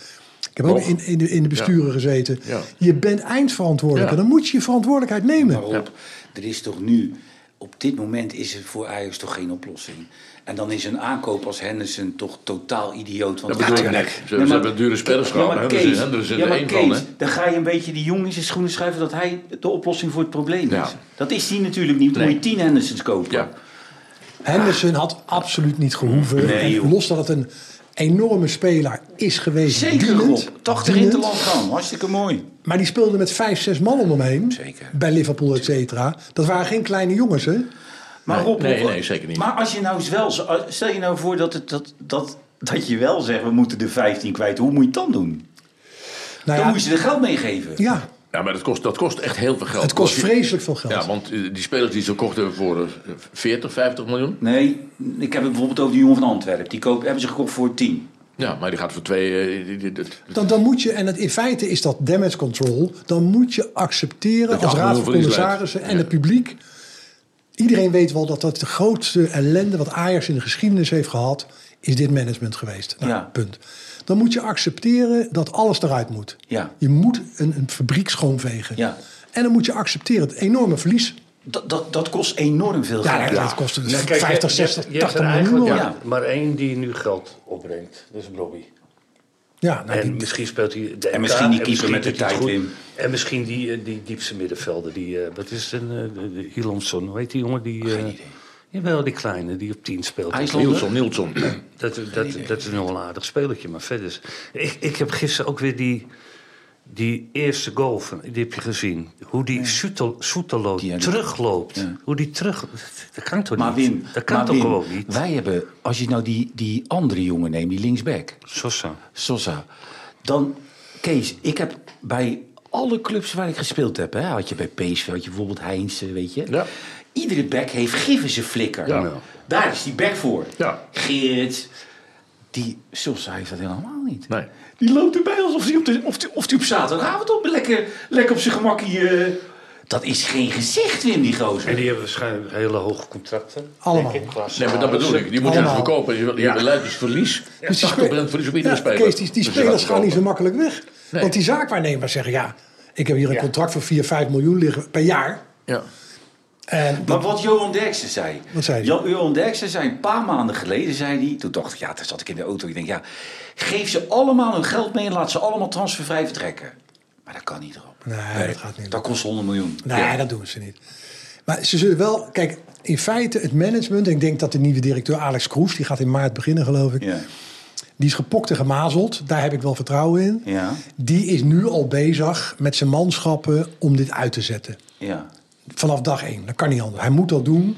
S3: Ik heb ook
S4: Nog.
S3: in, in, de, in de besturen gezeten.
S4: Ja.
S3: Je bent eindverantwoordelijk.
S4: Ja.
S3: En dan moet je je verantwoordelijkheid nemen.
S2: Maar Rob, er is toch nu, op dit moment is er voor Ajax toch geen oplossing. En dan is een aankoop als Henderson toch totaal idioot. Want
S4: Dat bedoel ik net. Ze- ze hebben dure spelers gehad, hè? Dus Henderson is er één van, hè?
S2: dan ga je een beetje die jongen in zijn schoenen schuiven dat hij de oplossing voor het probleem
S4: Ja.
S2: is. Dat is die natuurlijk niet. Dan
S4: Nee.
S2: moet je tien Hendersons kopen.
S4: Ja.
S3: Henderson had absoluut niet gehoeven.
S2: Nee,
S3: En
S2: joh.
S3: los dat het een enorme speler is geweest.
S2: Zeker
S3: dienend,
S2: Rob. 80 in te
S3: dienend.
S2: land gaan. Hartstikke mooi.
S3: Maar die speelde met vijf, zes man om hem heen.
S2: Zeker.
S3: Bij Liverpool, et cetera. Dat waren geen kleine jongens, hè? Nou
S2: Maar
S4: Nee,
S2: Rob,
S4: nee,
S2: Rob,
S4: nee, zeker niet.
S2: Maar als je nou eens wel, zo- als- stel je nou voor dat, het, dat, dat, dat je wel zegt, we moeten de 15 kwijt. Hoe moet je het dan doen?
S3: Nou
S2: Dan
S3: ja,
S2: moet je er geld mee geven.
S3: ja,
S4: Ja, maar dat kost, dat kost echt heel veel geld.
S3: het kost
S4: Want je-
S3: vreselijk veel geld.
S4: Ja, want eh, die spelers die ze kochten voor eh, 40, 50 miljoen.
S2: Nee, ik heb het bijvoorbeeld over die jongen van Antwerpen. Die koop, hebben ze gekocht voor 10.
S4: Ja, maar die gaat voor twee... eh, die- die- die-
S3: Dan, dan moet je, en het, in feite is dat damage control, dan moet je accepteren
S4: Dat je
S3: als raad
S4: achter-
S3: van
S4: verlies
S3: commissarissen
S4: leidt.
S3: en
S4: Ja.
S3: het publiek. Iedereen weet wel dat dat de grootste ellende wat Ajax in de geschiedenis heeft gehad, is dit management geweest. Nou,
S2: Ja.
S3: Punt. Dan moet je accepteren dat alles eruit moet.
S2: Ja.
S3: Je moet een, een fabriek schoonvegen.
S2: Ja.
S3: En dan moet je accepteren het enorme verlies.
S2: Dat, dat, dat kost enorm veel
S3: Ja,
S2: geld.
S3: dat kostte dus
S5: Ja, kijk,
S3: 50,
S5: je-
S3: 60,
S5: je hebt er
S3: 80 miljoen.
S5: eigenlijk,
S3: Ja,
S2: ja.
S5: ja, Maar één die nu geld opbrengt, dat is Robbie.
S3: ja nou,
S5: En
S3: die-
S5: misschien speelt hij de
S2: En
S5: NK,
S2: misschien die
S5: en
S2: keeper met de
S5: doet hij het
S2: tijd,
S5: goed.
S2: Wim.
S5: En misschien die, eh, die diepste middenvelder, die, eh, wat is het, uh, Hilonsson, hoe heet die jongen? Die, eh, Jawel, die kleine die op 10 speelt.
S2: IJslander?
S4: Nielsen, Nielsen.
S5: Dat, dat, dat is nog wel een aardig spelletje, maar verder. is- Ik, ik heb gisteren ook weer die, die eerste goal, van, die heb je gezien. Hoe die Soetelo Soetelo
S2: Die heb ik-
S5: terugloopt.
S2: Ja.
S5: Hoe die terug... Dat kan toch
S2: Maar
S5: niet?
S2: Wim,
S5: dat kan
S2: maar
S5: toch
S2: Wim,
S5: gewoon niet?
S2: wij hebben, als je nou die, die andere jongen neemt, die linksback,
S5: Sosa.
S2: Sosa. Dan, Kees, ik heb bij alle clubs waar ik gespeeld heb, hè, had je bij PSV, had je bijvoorbeeld Heinze, weet je.
S4: Ja.
S2: Iedere back heeft given ze flikker.
S4: Ja.
S2: Daar is die back voor.
S4: Ja.
S2: Geert. Die Sosa heeft dat helemaal niet.
S4: Nee.
S2: Die loopt erbij alsof hij op, de, of die, of die op zaterdagavond op lekker, lekker op zijn gemakkie... eh, dat is geen gezicht, Wim, die gozer.
S5: En die hebben waarschijnlijk hele hoge contracten.
S3: Allemaal.
S5: denk ik, qua
S4: Nee, maar dat bedoel ik. Die moet je dus
S3: Allemaal.
S4: verkopen. Je, je leidt dus verlies.
S3: Dus die
S4: 80%
S3: spe-
S4: verlies op iedere
S3: Ja,
S4: speler.
S3: Kees, die, die
S4: Dus je
S3: spelers
S4: gaat
S3: gaan niet zo
S4: verkopen.
S3: makkelijk weg.
S4: Nee.
S3: Want die zaakwaarnemers zeggen, ja, ik heb hier een
S5: Ja.
S3: contract van 4, 5 miljoen liggen per jaar.
S4: Ja.
S3: En
S2: Maar wat Johan Derksen zei.
S3: Wat zei hij?
S2: Jan- Johan Derksen zei een paar maanden geleden, zei hij. Toen dacht ik, ja, toen zat ik in de auto. Ik denk, ja, geef ze allemaal hun geld mee en laat ze allemaal transfervrij vertrekken. Maar dat kan niet, Rob.
S3: Nee, dat gaat niet.
S2: Dat kost 100 miljoen.
S3: nee, dat doen ze niet. Maar ze zullen wel, kijk, in feite het management, en ik denk dat de nieuwe directeur Alex Kroes, die gaat in maart beginnen geloof ik,
S2: Ja.
S3: die is gepokt en gemazeld, daar heb ik wel vertrouwen in.
S2: Ja.
S3: Die is nu al bezig met zijn manschappen om dit uit te zetten.
S2: Ja.
S3: vanaf dag één. Dat kan niet anders. Hij moet dat doen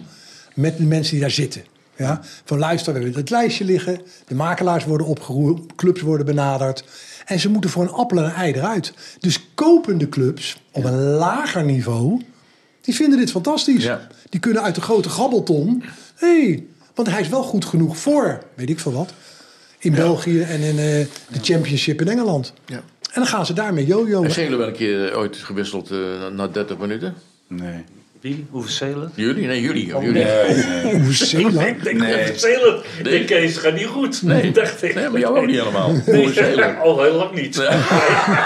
S3: met de mensen die daar zitten. Ja? Van luister, we hebben het lijstje liggen. De makelaars worden opgeroepen, clubs worden benaderd. En ze moeten voor een appel en een ei eruit. Dus kopende clubs op een lager niveau, die vinden dit fantastisch.
S4: Ja.
S3: Die kunnen uit de grote grabbelton. hey, want hij is wel goed genoeg voor, weet ik veel wat. In België en in eh, de Championship in Engeland.
S4: Ja.
S3: En dan gaan ze daarmee jojo.
S4: En Schelen wel een keer ooit gewisseld eh, na 30 minuten?
S2: Nee.
S5: Wie? Hoeveel Zelen?
S4: Jullie? Nee, jullie. jullie.
S3: Hoe zeker.
S5: Ik denk nee. Zelen. Ik denk, Kees, gaat niet goed.
S4: Nee.
S5: dacht ik.
S4: Nee, maar jou ook niet helemaal. Voor Schelen.
S5: Al heel lang niet. Nee,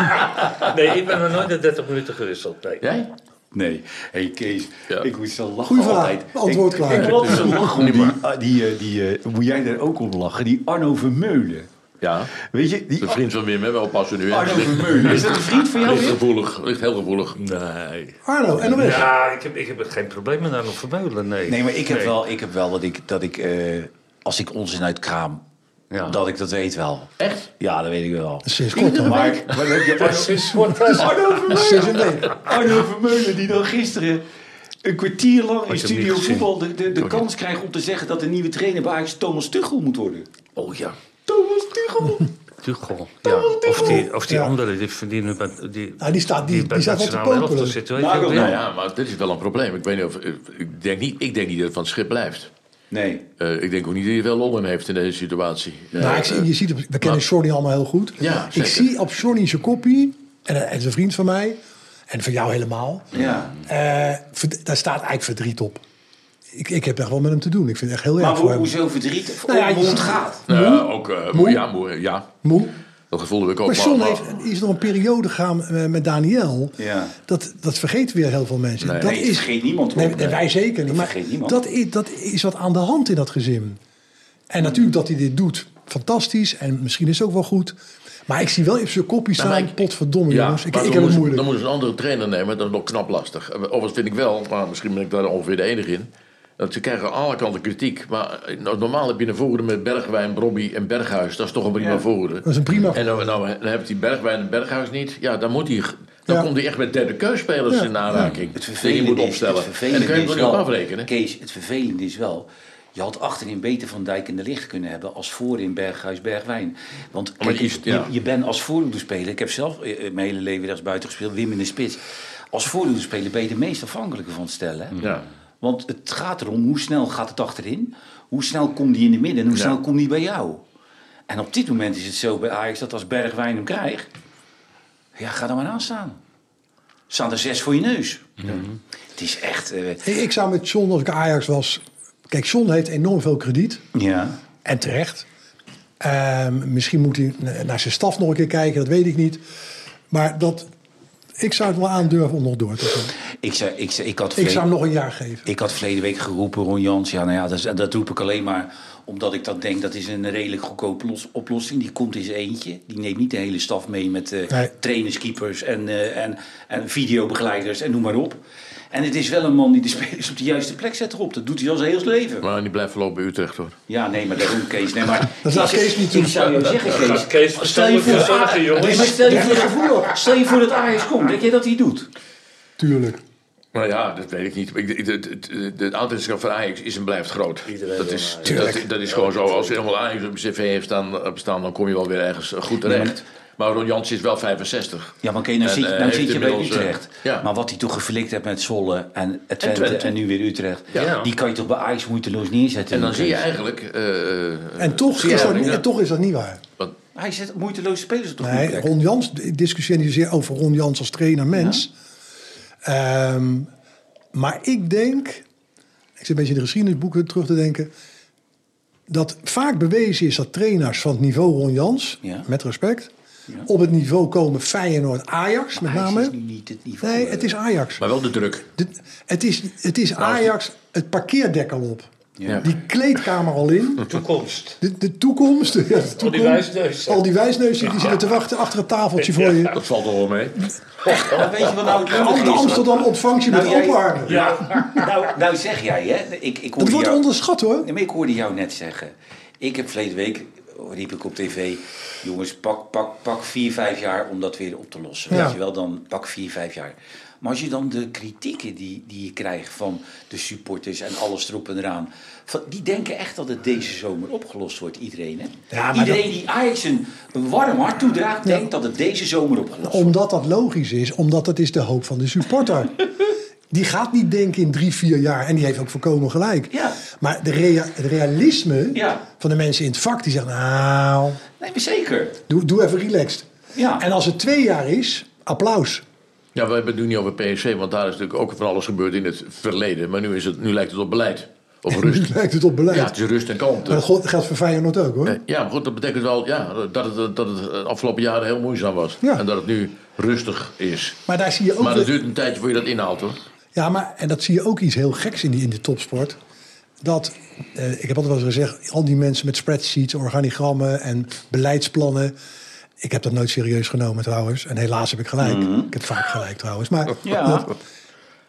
S5: ik ben nog nooit de 30 minuten gewisseld. Nee.
S4: Jij?
S2: Nee. hey Kees,
S4: Ja.
S2: ik moet zo lachen
S3: Goeie vraag.
S2: altijd.
S3: Antwoord
S2: ik,
S3: klaar.
S2: Ik moet altijd zo lachen om die, ah, die, eh, die eh, moet jij daar ook om lachen, die Arno Vermeulen.
S4: Ja.
S2: Weet je,
S4: De
S2: die
S4: vriend van Wim, hè? Wel passen nu. hè?
S2: Arno Vermeulen. Is dat een vriend van jou?
S4: Ligt
S2: Wim?
S4: gevoelig. Ligt heel gevoelig. Nee.
S3: Arno, NOS.
S5: Ja, ik heb, ik heb geen probleem met Arno Vermeulen. Nee,
S2: Nee, maar ik heb wel, ik heb wel dat ik, dat ik eh, als ik onzin uit kraam,
S5: Ja.
S2: dat ik dat weet wel.
S4: Echt?
S2: Ja, dat weet ik wel.
S3: Sinds kort dan.
S2: Maar, maar dan heb je Arno, Arno
S3: Sinds
S2: Vermeulen.
S3: een week.
S2: Arno Vermeulen die dan gisteren een kwartier lang in
S5: niet
S2: Studio
S5: gezien.
S2: Voetbal de, de, de kans krijgt om te zeggen dat de nieuwe trainer bij Ajax Thomas Tuchel moet worden.
S4: Oh ja.
S2: Thomas Tuchel!
S5: Tuchel. Ja. Of die, of die
S3: Ja.
S5: andere, die verdienen... bij- Die,
S3: Nou, die staat- die-
S5: bij
S3: die staat wel te
S5: nationale elftal
S3: popelen.
S5: zitten, weet
S2: Nou,
S5: je wel.
S2: dat-
S4: Nou ja, maar dit is wel een probleem. Ik weet niet of... eh, Ik denk niet, ik denk niet dat het van het schip blijft.
S2: Nee.
S4: Eh, ik denk ook niet dat hij wel lol in heeft in deze situatie.
S3: Nou,
S4: Eh,
S3: ik zie, je ziet, op- we kennen Johnny allemaal heel goed.
S4: Ja,
S3: ik
S4: zeker.
S3: zie op Johnny zijn kopie, en hij is een vriend van mij, en van jou helemaal,
S2: Ja.
S3: eh, verd- daar staat eigenlijk verdriet op. Ik, ik heb echt wel met hem te doen. Ik vind het echt heel
S2: Maar
S3: erg voor
S2: hoe,
S3: hem.
S2: hoezo verdriet?
S3: Nou ja,
S2: hoe
S3: je-
S2: het gaat?
S4: Nou ja, ook eh, moe, ja, moe, ja.
S3: Moe.
S4: Dat gevoel heb ik ook.
S3: Maar John
S4: maar-
S3: heeft, is nog een periode gegaan eh, met Daniel.
S2: Ja.
S3: Dat, dat vergeet weer heel veel mensen. dat
S2: Nee,
S3: is,
S2: vergeet niemand, hoor.
S3: Nee, nee, wij zeker niet.
S2: Dat
S3: Maar
S2: vergeet niemand.
S3: dat is, dat is wat aan de hand in dat gezin. En natuurlijk dat hij dit doet, fantastisch. En misschien is het ook wel goed. Maar ik zie wel even zijn kopje staan.
S4: Nou, maar ik-
S3: Potverdomme
S4: Ja,
S3: jongens, ik,
S4: maar
S3: ik
S4: dan
S3: heb het
S4: moeten-
S3: moeilijk.
S4: Eh, Dan moeten ze een andere trainer nemen, dat is nog knap lastig. Overigens vind ik wel, maar misschien ben ik daar ongeveer de enige in. Want ze krijgen aan alle kanten kritiek. Maar eh, nou, normaal heb je een voorhoede met Bergwijn, Brobby en Berghuis. Dat is toch een prima voorhoede.
S3: Dat is een prima
S4: En nou, nou, dan hebt hij Bergwijn en Berghuis niet. Ja, dan moet hij... Dan
S3: Ja.
S4: komt hij echt met derde keusspelers
S3: Ja.
S4: in aanraking.
S2: Het
S4: die je
S2: vervelende
S4: moet
S2: is-
S4: opstellen.
S2: het
S4: en dan
S2: vervelende
S4: kun je
S2: is
S4: het ook
S2: wel-
S4: afrekenen.
S2: Kees, het vervelende is wel... Je had achterin beter Van Dijk en de Licht kunnen hebben... als voorin Berghuis Bergwijn. Want kijk,
S4: die is- ja.
S2: je, je bent als voorhoederspeler... Ik heb zelf eh, eh, mijn hele leven rechts buiten gespeeld. Wim in de spits. Als voorhoederspeler ben je de meest afhankelijke van het stellen. hè?
S4: Ja.
S2: Want het gaat erom hoe snel gaat het achterin. Hoe snel komt die in de midden en hoe
S4: Ja.
S2: snel komt die bij jou. En op dit moment is het zo bij Ajax dat als Bergwijn hem krijgt... Ja, ga er maar aan staan. Staan er zes voor je neus.
S3: Mhm.
S2: Het is echt... eh,
S3: Ik, ik zou met John, als ik Ajax was... Kijk, John heeft enorm veel krediet.
S2: ja.
S3: En terecht. Ehm, misschien moet hij na- naar zijn staf nog een keer kijken, dat weet ik niet. Maar dat, ik zou het wel aandurven om nog door te gaan.
S2: Ik, zei, ik, zei, ik, had
S3: Ik
S2: verleden,
S3: zou hem nog een jaar geven.
S2: ik had verleden week geroepen, Ron Jans. Ja, nou ja, dat, is- dat roep ik alleen maar omdat ik dat denk. Dat is een redelijk goedkope los- oplossing. Die komt in zijn eentje. Die neemt niet de hele staf mee met eh,
S3: Nee.
S2: trainers, keepers en, eh, en, en videobegeleiders en noem maar op. En het is wel een man die de spelers op de juiste plek zet erop. Dat doet hij al zijn hele leven.
S4: Maar die blijft voorlopig bij Utrecht hoor.
S2: Ja, nee, maar daarom Kees. Nee, maar
S3: Dat laat
S2: Ik-
S3: Kees niet doen.
S2: Ik zou je zeggen, Kees.
S5: gaat Kees
S2: stel je
S5: verstandig
S2: voor, Ah,
S5: verzorgen, jongens.
S2: Nee, maar stel je voor, het gevoel, stel je voor dat Ajax komt. Denk je dat hij doet?
S3: Tuurlijk.
S4: Nou ja, dat weet ik niet. Ik- ik- Het, het, het, het aantrekkingskracht van Ajax is en blijft groot.
S5: Iedereen
S4: dat,
S5: wil
S4: is,
S5: naar
S4: dat, dat is gewoon zo. Als er helemaal Ajax op je cv heeft staan, op staan, dan kom je wel weer ergens goed terecht. Maar Ron Jans is wel 65.
S2: Ja, maar oké, nou
S4: En,
S2: zit,
S4: eh,
S2: nou
S4: heeft
S2: zit je bij
S4: inmiddels, eh,
S2: Utrecht.
S4: ja.
S2: Maar wat hij toch geflikt heeft met Zwolle en eh, Twente en,
S4: Twente.
S2: nu weer Utrecht.
S4: Ja.
S2: Die kan je toch bij Ajax moeiteloos neerzetten.
S4: En dan
S2: Kees?
S4: zie je eigenlijk... eh,
S3: En toch,
S4: zie je
S3: is dat,
S4: eigenlijk,
S3: niet- en toch is dat niet waar.
S4: want-
S2: Hij zet moeiteloze spelers op de goede
S3: Nee,
S2: plek.
S3: Ron Jans, ik discussieer niet zozeer over Ron Jans als trainer mens. Ehm, maar ik denk, ik zit een beetje in de geschiedenisboeken terug te denken... dat vaak bewezen is dat trainers van het niveau Ron Jans,
S2: Ja.
S3: met respect... op het niveau komen Feyenoord-Ajax met
S2: Ajax
S3: name.
S2: is nu niet het niveau,
S3: nee,
S2: eh.
S3: het is Ajax.
S4: maar wel de druk.
S3: Dit- het is, het is Ajax het parkeerdek al op.
S4: Ja.
S3: Die kleedkamer al in.
S5: Toekomst.
S3: De, de toekomst. ja, de
S2: Oh,
S3: toekomst.
S5: wijsneuzen.
S3: Al die wijsneuzen die zitten te wachten achter het tafeltje voor je.
S4: Dat valt nog wel mee.
S2: Maar weet je wat nou het
S3: Al
S2: grappige
S3: de
S2: is?
S3: Amsterdam ontvangt je
S2: Nou,
S3: met
S2: jij-
S3: open armen.
S2: nou, nou zeg jij, hè? Ik, ik
S3: Dat
S2: hoorde
S3: wordt
S2: jou-
S3: onderschat hoor.
S2: Nee, maar ik hoorde jou net zeggen. Ik heb verleden week, riep ik op tv... jongens, pak, pak, pak vier, vijf jaar om dat weer op te lossen.
S3: Ja.
S2: Weet je wel, dan pak vier, vijf jaar. Maar als je dan de kritieken die, die je krijgt van de supporters... en alles erop en eraan... Van, die denken echt dat het deze zomer opgelost wordt, iedereen. Hè?
S3: Ja, maar
S2: iedereen die Ajax een, een warm hart toedraagt... denkt dat het deze zomer opgelost wordt.
S3: Omdat dat logisch is, omdat dat is de hoop van de supporter. Die gaat niet denken in drie, vier jaar. En die heeft ook voorkomen gelijk.
S2: Ja.
S3: Maar de rea- het realisme
S2: Ja.
S3: van de mensen in het vak, die zeggen... Nou,
S2: Nee, maar zeker.
S3: doe, doe even relaxed.
S2: Ja.
S3: En als het twee jaar is, applaus.
S4: Ja, we hebben het nu niet over PSC, want daar is natuurlijk ook van alles gebeurd in het verleden. Maar nu, is het, nu lijkt het op beleid. Of
S3: Nu
S4: rust.
S3: lijkt het op beleid.
S4: Ja, het is rust en kalmte.
S3: Maar dat go- geldt voor Feyenoord ook hoor.
S4: Ja, maar goed, dat betekent wel ja, dat, het, dat het de afgelopen jaren heel moeizaam was.
S3: Ja.
S4: En dat het nu rustig is.
S3: Maar daar zie je ook...
S4: Maar
S3: weer-
S4: dat duurt een tijdje voor je dat inhaalt, hoor.
S3: Ja, maar en dat zie je ook iets heel geks in, die, in de topsport. Dat, eh, ik heb altijd wel eens gezegd, al die mensen met spreadsheets, organigrammen en beleidsplannen. Ik heb dat nooit serieus genomen trouwens. En helaas heb ik gelijk. Ik heb vaak gelijk trouwens. Maar
S2: Ja.
S3: dat,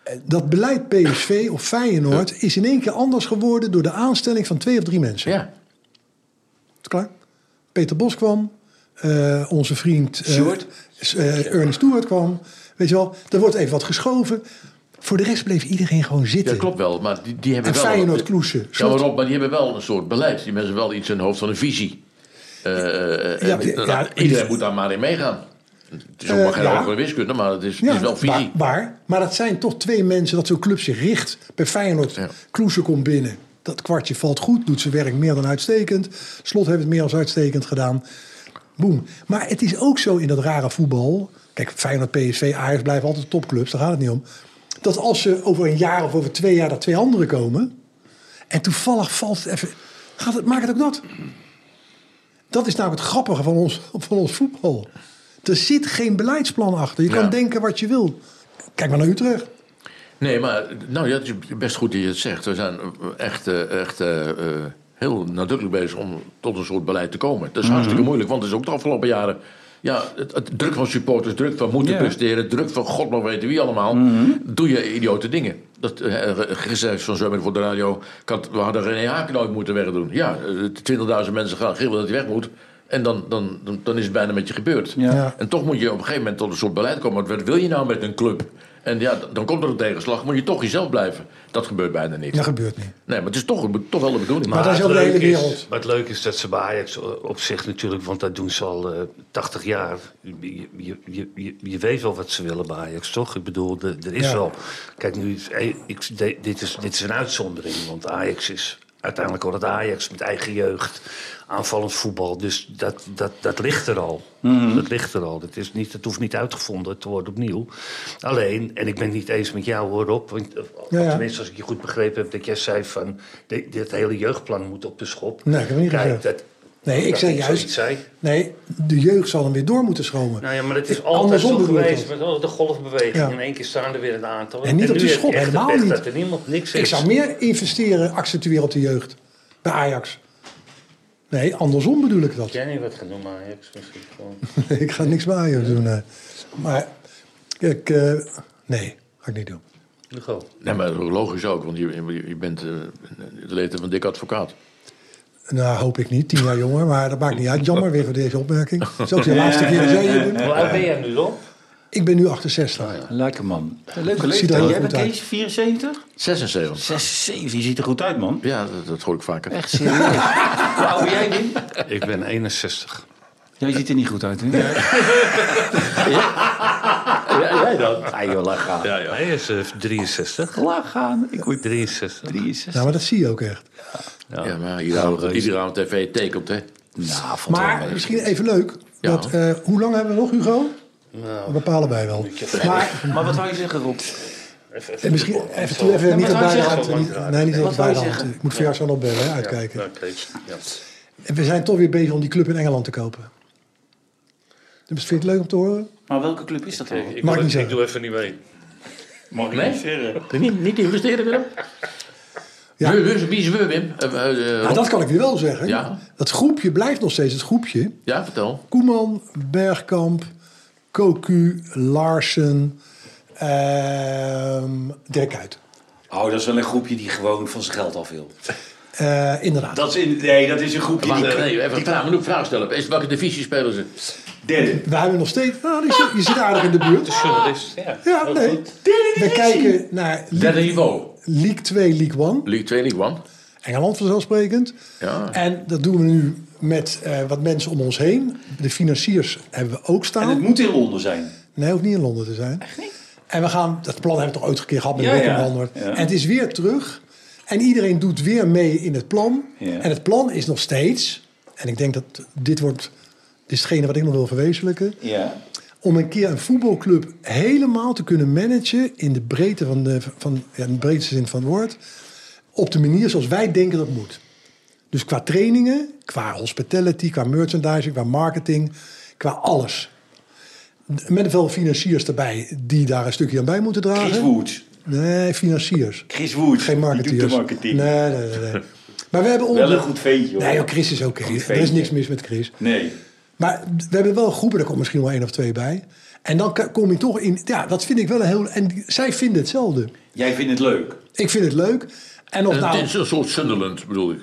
S3: eh, dat beleid PSV of Feyenoord is in één keer anders geworden door de aanstelling van twee of drie mensen.
S4: Ja.
S3: Is het klaar? Peter Bos kwam. eh, onze vriend eh,
S2: Stuart.
S3: S- eh, Ernie Stewart kwam. Weet je wel, er wordt even wat geschoven. Voor de rest bleef iedereen gewoon zitten.
S4: dat klopt wel, maar die, die hebben
S3: En
S4: wel...
S3: Feyenoord kloesen.
S4: Ja, maar Rob, maar die hebben wel een soort beleid. Die mensen hebben wel iets in hun hoofd van een visie. Eh, eh, eh,
S3: Ja,
S4: eh, nou,
S3: ja, die-
S4: iedereen moet daar maar in meegaan. Het is ook maar
S3: Eh,
S4: geen
S3: ja.
S4: hogere wiskunde, maar het Dus is, het is wel
S3: maar,
S4: visie.
S3: maar, maar dat zijn toch twee mensen dat zo'n club zich richt. Bij Feyenoord,
S4: Ja.
S3: Kloesen komt binnen. Dat kwartje valt goed, doet zijn werk meer dan uitstekend. Slot heeft het meer dan uitstekend gedaan. Boom. Maar het is ook zo in dat rare voetbal. Kijk, Feyenoord, PSV, Ajax blijven altijd topclubs. Daar gaat het niet om. Dat als ze over een jaar of over twee jaar dat twee anderen komen... en toevallig valt het even... Gaat het, maakt het ook dat. Dat is nou het grappige van ons, van ons voetbal. Er zit geen beleidsplan achter. Je
S4: Ja.
S3: kan denken wat je wil. Kijk maar naar Utrecht.
S4: Nee, maar nou, ja, het is best goed dat je het zegt. We zijn echt, eh, echt eh, eh, heel nadrukkelijk bezig om tot een soort beleid te komen. Dat is hartstikke moeilijk, want het is ook de afgelopen jaren... Ja, het, het druk van supporters, druk van moeten presteren... druk van god nog weten wie allemaal... doe je idiote dingen. Dat Dat eh, gezegd van zo voor de radio. ik had- we hadden René Haak nooit moeten wegdoen. Ja, eh, 20.000 mensen gaan gillen dat hij weg moet. En dan, dan, dan, dan is het bijna met je gebeurd.
S3: Ja.
S4: En toch moet je op een gegeven moment tot een soort beleid komen. Wat wil je nou met een club? En ja, dan- dan komt er een tegenslag. Moet je toch jezelf blijven. Dat gebeurt bijna niet.
S3: Dat gebeurt niet.
S4: Nee, maar het is toch, het moet toch wel de bedoeling.
S3: Maar dat is
S5: het
S3: over de
S5: leuke
S3: hele
S5: is-
S3: wereld.
S5: maar het leuke is dat ze bij Ajax op zich natuurlijk, want dat doen ze al eh, 80 jaar. Je, je, je, je, je weet wel wat ze willen bij Ajax, toch? Ik bedoel, de- er is
S3: Ja.
S5: wel. Kijk, nu, is- eh, ik, de- dit, is, dit is een uitzondering, want Ajax is uiteindelijk al het Ajax met eigen jeugd, aanvallend voetbal. Dus dat, dat, dat ligt er al.
S3: Mhm.
S5: Dat ligt er al. Dat, is niet, dat hoeft niet uitgevonden te worden opnieuw. Alleen, en ik ben het niet eens met jou hoor, Rob. Want, eh,
S3: Ja, ja.
S5: tenminste, als ik je goed begrepen heb, dat jij zei van... di- dit hele jeugdplan moet op de schop.
S3: Nee, ik heb het niet
S5: Kijk,
S3: gezegd.
S5: dat-
S3: Nee, ik
S5: dat
S3: zeg juist.
S5: zoiets Zei.
S3: Nee, de jeugd zal hem weer door moeten schromen.
S5: Nou ja, maar het
S3: Ik-
S5: is altijd
S3: andersom
S5: zo
S3: bedoel ik
S5: geweest
S3: dat.
S5: met oh, de golfbeweging.
S3: Ja.
S5: In één keer staan er weer een aantal.
S3: En niet op
S5: nu
S3: de
S5: heb je
S3: schop,
S5: echt de
S3: helemaal
S5: pech
S3: niet.
S5: Dat er niemand niks
S3: Ik
S5: is.
S3: zou meer investeren, accentueren op de jeugd. Bij Ajax. Nee, andersom bedoel ik dat.
S5: Heb Jij niet wat genoemd, Ajax misschien gewoon.
S3: Nee, ik ga niks bij Ajax doen. nee. Maar ik, eh, nee, ga ik niet doen.
S5: Nu go.
S4: Nee, maar logisch ook, want je, je- je bent eh, de leden van Dick Advocaat.
S3: Nou, hoop ik niet. Tien jaar jonger, maar dat maakt niet uit. Jammer weer voor deze opmerking. Het is ook de laatste keer dat jij hier doet.
S5: Hoe oud ben jij nu, Rob?
S3: Ik ben nu 68.
S2: Lekker man. Leuke
S3: Ziet er
S2: leeftijd.
S3: heel
S2: Jij
S3: goed
S2: bent
S3: uit.
S2: Kees, 74?
S4: 76.
S2: 76, je ziet er goed uit man.
S4: Ja, dat, dat hoor ik vaker.
S2: Echt serieus. Hoe oud ben jij nu?
S5: Ik ben 61.
S2: Jij ziet er niet goed uit hè?
S4: Ja, jij dan?
S2: Ah joh, laat gaan.
S4: Ja, ja.
S5: Hij is eh, 63.
S2: Laat gaan. Ik word
S5: 63.
S2: 63.
S3: Nou, maar dat zie je ook echt.
S4: Ja, maar iedere avond, iedere avond tv tekent, hè?
S2: Nou, valt wel
S3: Maar
S2: mee.
S3: misschien even leuk.
S4: Ja.
S3: Dat, eh, hoe lang hebben we nog, Hugo?
S5: Nou,
S3: We bepalen wij wel. Maar
S2: Maar wat wou je zeggen Rob?
S3: eh, misschien even, toe, even
S2: maar
S3: niet
S2: wat
S3: op
S2: wou je
S3: beide
S2: zeggen?
S3: handen. niet- Nee, niet
S2: Wat wou
S3: op
S2: je
S3: beide handen.
S2: zeggen?
S3: Ik moet voor jou zo nog bellen, hè, uitkijken.
S5: Nou, kijk. Ja.
S3: En we zijn toch weer bezig om die club in Engeland te kopen. Dus vind je het leuk om te horen?
S2: Maar welke club is dat dan?
S5: Ik,
S3: Mag
S5: doe,
S3: ik niet
S5: ik
S3: zeggen.
S5: doe even niet mee.
S2: Mag ik
S4: Nee?
S2: niet zeggen.
S4: Niet, niet investeren, Willem?
S3: Ja.
S4: We- we- Wie is we, Wim? Eh, eh, eh,
S3: Nou,
S4: Rob?
S3: dat kan ik nu wel zeggen.
S4: Ja.
S3: Dat groepje blijft nog steeds het groepje.
S4: Ja, vertel.
S3: Koeman, Bergkamp, Koku, Larsen, ehm Dirk Kuyt.
S2: Oh, dat is wel een groepje die gewoon van zijn geld af wil.
S3: Eh, inderdaad.
S2: Dat is in, nee, dat is een groepje
S4: Wacht,
S2: die...
S4: eh, nee, even vragen. Moet ik vragen stellen? Is, welke divisie spelen ze?
S2: Derde.
S3: We hebben nog steeds... Nou, die zit- je zit aardig in de buurt.
S5: Journalist, ja.
S3: Ja, nee. We kijken naar
S4: Derde niveau.
S3: League 2, League 1.
S4: League 2, League 1.
S3: Engeland vanzelfsprekend.
S4: Ja.
S3: En dat doen we nu met eh, wat mensen om ons heen. De financiers hebben we ook
S2: En
S3: staan.
S2: het moet in Londen zijn.
S3: Nee, hoeft niet in Londen te zijn. Echt niet? En we gaan, dat plan hebben we toch ooit een keer gehad met
S2: Ja,
S3: Rick
S2: ja.
S3: en Wander.
S2: Ja.
S3: En het is weer terug. En iedereen doet weer mee in het plan.
S2: Ja.
S3: En het plan is nog steeds, en ik denk dat dit wordt, dit is hetgene wat ik nog wil verwezenlijken.
S2: Ja.
S3: Om een keer een voetbalclub helemaal te kunnen managen in de breedte van de, van, ja, in de breedste zin van het woord. Op de manier zoals wij denken dat moet. Dus qua trainingen, qua hospitality, qua merchandising, qua marketing, qua alles. Met een veel financiers erbij die daar een stukje aan bij moeten
S2: Chris
S3: dragen.
S2: Woods.
S3: Nee, financiers.
S2: Chris Woods.
S3: Geen
S2: die
S3: marketeers.
S2: doet de marketing. Nee.
S3: Nee, nee, nee. nee. Maar we hebben
S2: Wel een goed ventje, hoor.
S3: Nee, joh, Chris is oké.
S2: Goed
S3: Er is
S2: ventje.
S3: niks mis met Chris. Maar we hebben wel groepen, daar komt misschien wel één of twee bij. En dan ka- kom je toch in. Ja, dat vind ik wel een heel. En die- zij vinden hetzelfde.
S2: Jij vindt het leuk.
S3: Ik vind het leuk. En of
S4: Het
S3: nou.
S4: is een soort Sunderland, bedoel ik.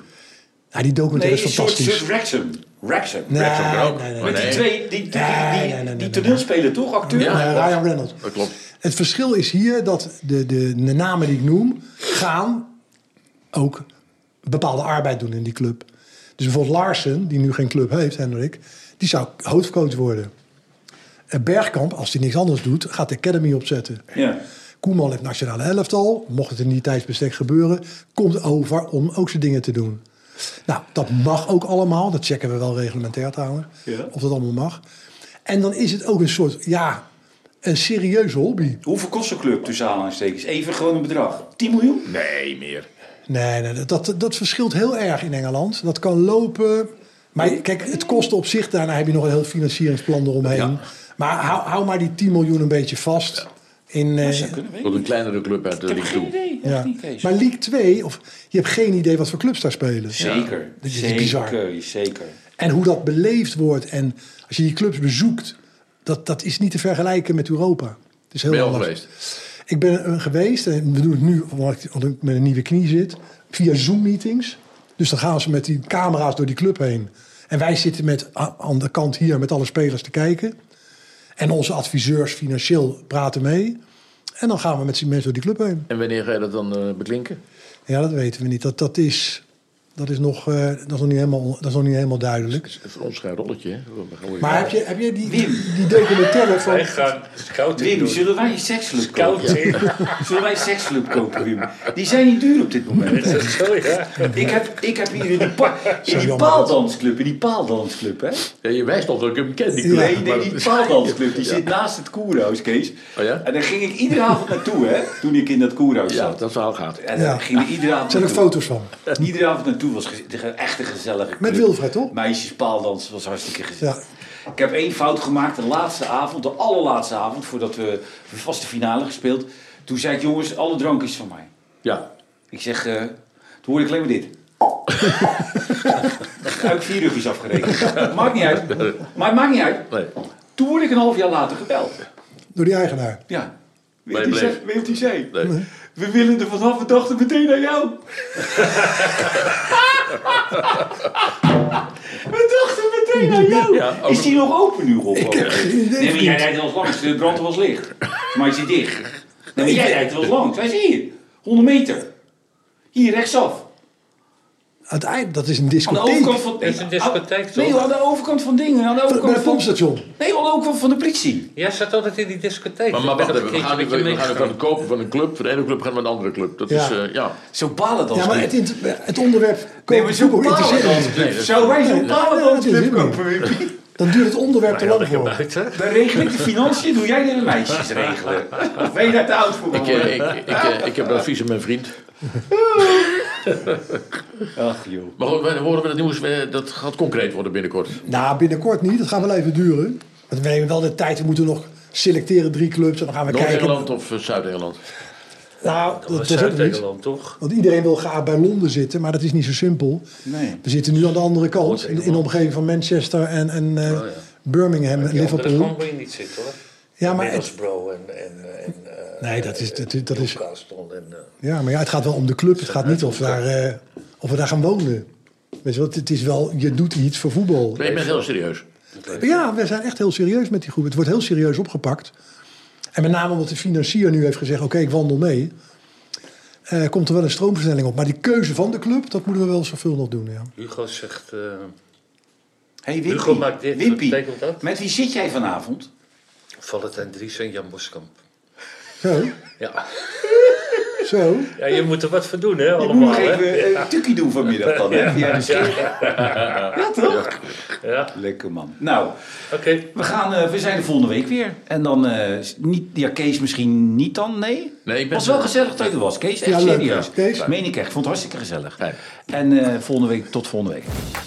S3: nou, die documentaire
S2: een
S3: is
S2: soort, soort
S3: fantastisch.
S2: Wrexham. Wrexham.
S3: Nee,
S2: Wrexham.
S4: kan ook.
S3: nee, nee,
S2: Met die
S4: Nee.
S2: twee, die, die, die,
S3: Nee, nee,
S2: die,
S3: nee, nee, nee.
S2: toneelspeler toch, acteur?
S4: Ja.
S3: Eh, Ryan Reynolds.
S4: Dat klopt.
S3: Het verschil is hier dat de, de, de namen die ik noem gaan ook bepaalde arbeid doen in die club. Dus bijvoorbeeld Larsen, die nu geen club heeft, Hendrik, die zou hoofdcoach worden. En Bergkamp, als hij niks anders doet, gaat de academy opzetten.
S2: Ja.
S3: Koeman heeft nationale elftal, mocht het in die tijdsbestek gebeuren, komt over om ook zijn dingen te doen. Nou, dat mag ook allemaal, dat checken we wel reglementair trouwens,
S2: Ja.
S3: of dat allemaal mag. En dan is het ook een soort, ja, een serieuze hobby.
S2: Hoeveel kost een club tussen aanhalingstekens? Even gewoon een bedrag. 10 miljoen?
S4: Nee, meer.
S3: Nee, nee dat- dat, dat verschilt heel erg in Engeland. Dat kan lopen. Maar kijk, het kost op zich, daarna heb je nog een heel financieringsplan eromheen. Maar hou, hou maar die 10 miljoen een beetje vast. In, eh,
S2: Dat kunnen we
S4: Tot een kleinere club uit de
S2: Ik heb
S4: League
S2: geen
S4: 2.
S2: idee.
S3: ja.
S2: Echt niet, Kees.
S3: Maar League 2, of, je hebt geen idee wat voor clubs daar spelen.
S2: Zeker.
S3: Dit is
S2: zeker,
S3: bizar.
S2: Zeker.
S3: En hoe dat beleefd wordt. En als je die clubs bezoekt, dat, dat is niet te vergelijken met Europa. Het is heel
S4: Ben je al
S3: anders.
S4: geweest?
S3: Ik Ik ben er geweest, en we doen het nu omdat ik- omdat ik met een nieuwe knie zit, via Zoom-meetings. Dus dan gaan ze met die camera's door die club heen. En wij zitten met, a- aan de kant hier met alle spelers te kijken. En onze adviseurs financieel praten mee. En dan gaan we met die mensen door die club heen.
S4: En wanneer ga je dat dan eh, beklinken?
S3: Ja, dat weten we niet. Dat, dat, is, dat, is, nog, eh, dat, is nog niet helemaal, dat is nog niet helemaal duidelijk.
S4: Dat is voor ons geen rolletje. Hè? We gaan weer-
S3: Maar heb je, heb je die, die, die documentaire van...
S5: Wij gaan scouting
S2: Wim,
S5: doen.
S2: zullen wij een seksclub kopen?
S5: Scouting.
S2: Zullen wij een seksclub kopen, Wim? Die zijn niet duur op dit moment.
S5: Is dat zo, ja?
S2: Ik heb, ik heb hier in die, pa in die
S3: jammer.
S2: paaldansclub, in die paaldansclub, hè?
S4: Ja, je wijst op dat ik hem ken, die club.
S2: Nee, nee,
S4: Maar-
S2: die paaldansclub, die zit naast het koerhuis, Kees.
S4: Oh ja?
S2: En daar ging ik iedere avond naartoe, hè? Toen ik in dat koerhuis
S4: Ja,
S2: zat.
S4: dat verhaal gaat.
S2: En daar
S3: Ja.
S2: ging ik iedere avond
S3: Er zijn er
S2: naartoe.
S3: foto's van.
S2: Iedere avond naartoe was gez- de- echt een gezellige club.
S3: Met Wilfred, toch?
S2: Meisjes paaldans was hartstikke gezellig.
S3: Ja.
S2: Ik heb één fout gemaakt de laatste avond, de allerlaatste avond, voordat we we vast de finale gespeeld. Toen zei ik, jongens, alle drank is van mij.
S4: Ja.
S2: Ik zeg, eh, toen hoorde ik alleen maar dit. Uit vier uur is afgerekend. Maakt niet uit. Maar het maakt niet uit.
S4: Nee.
S2: Toen word ik een half jaar later gebeld.
S3: Door die eigenaar.
S2: Ja. Weet
S4: Maar
S2: u
S4: je bleef.
S2: zei? Weet u zei?
S4: Nee.
S2: We willen er vanaf de dag er meteen naar jou. We dachten meteen naar jou.
S4: Ja, ook-
S2: is die nog open nu, Rob? Ik
S3: geen idee,
S2: Nee, maar jij
S3: vriend.
S2: rijdt er als langs. De brand was licht. Maar hij zit dicht. Nee, maar jij rijdt er als langs. Hij is hier. 100 meter. Hier, rechtsaf.
S3: Uiteindelijk, dat is een
S2: Aan de
S3: discotheek.
S2: overkant van...
S5: Dat is een discotheek, toch?
S2: Nee, aan de overkant van dingen. Aan de
S3: Bij
S2: overkant
S3: het
S2: van...
S3: pompstation.
S2: Nee, aan de overkant van de politie.
S5: Jij zat altijd in die discotheek.
S4: Maar, maar
S5: Ik
S4: wacht
S5: ben
S4: even,
S5: een
S4: we
S5: keertje
S4: gaan,
S5: met
S4: nu-
S5: je
S4: we gaan het
S5: meegegaan.
S4: dan kopen van een club. Van de ene club gaan we naar een andere club. Dat
S3: Ja.
S4: is, eh, ja.
S2: Zo balen dat.
S3: Ja, maar het, int- het onderwerp
S2: Nee,
S3: komen
S2: maar
S3: we
S2: zo'n
S3: voetbal interesseert
S2: balendans
S3: niet.
S2: club. Zou wij zo'n
S3: Nee, dat
S2: balendans
S3: is
S2: club Nou
S3: het niet.
S2: kopen, Wimpy?
S3: Dan duurt het onderwerp te
S5: Ja, dat
S3: lang
S5: je
S3: voor.
S5: buiten.
S2: Dan regel ik de financiën, doe jij de meisjes regelen. Of ben je daar te oud voor
S4: Ik, eh, ik, ik, eh, ik heb een advies aan mijn vriend.
S2: Ach joh.
S4: Maar goed, we horen we het nieuws. eh, Dat gaat concreet worden binnenkort.
S3: Nou, binnenkort niet. Dat gaat wel even duren. Want we hebben wel de tijd. We moeten nog selecteren drie clubs. En dan gaan we kijken.
S4: Noord-Engeland of eh, Zuid-Engeland?
S3: Nou,
S5: Dat
S3: dat
S5: was
S3: is ook niet.
S5: Zuid-Engeland, toch?
S3: Want iedereen wil graag bij Londen zitten. Maar dat is niet zo simpel.
S2: Nee.
S3: We zitten nu aan de andere kant. In, in de omgeving van Manchester en, en eh,
S5: Oh,
S3: Birmingham en
S5: Ja, op de
S3: Liverpool.
S5: moet je niet zitten, hoor.
S3: Ja, maar het,
S5: Middlesbrough en... en, en eh,
S3: nee, dat is, dat, is- dat is,
S5: Newcastle en... eh,
S3: ja, maar ja, het gaat wel om de club. Het gaat niet of, daar, eh, of we daar gaan wonen. Weet je wat? Het is wel, je doet iets voor voetbal.
S4: Nee, ik ben heel serieus.
S3: Ja, we zijn echt heel serieus met die groep. Het wordt heel serieus opgepakt. En met name omdat de financier nu heeft gezegd: oké, ik wandel mee. eh, komt er wel een stroomversnelling op. Maar die keuze van de club, dat moeten we wel zoveel nog doen. Ja.
S5: Hugo zegt... eh,
S2: Hey
S5: Hugo
S2: Wimpy,
S5: maakt dit, wat
S2: Wimpy,
S5: betekent dat?
S2: met wie zit jij vanavond?
S5: Valentijn Dries en Jan Boskamp.
S3: Zo,
S5: Ja.
S3: zo.
S5: ja, je moet er wat voor doen, hè,
S2: Ik moet nog
S5: allemaal. Hè?
S2: even een tukkie doen vanmiddag dan. Hè? Ja, dus-
S5: Ja,
S2: ja, toch?
S5: ja.
S2: Lekker man. Nou,
S5: oké.
S2: we, gaan, eh, we zijn er volgende week weer. En dan, eh, niet, ja Kees misschien niet dan, nee?
S4: Nee, ik ben-
S2: was wel gezellig dat je er was, Kees. Echt
S3: Ja, leuk,
S2: serieus.
S3: Kees.
S2: Meen ik echt, vond het hartstikke gezellig.
S4: Fijn.
S2: En eh, volgende week, tot volgende week.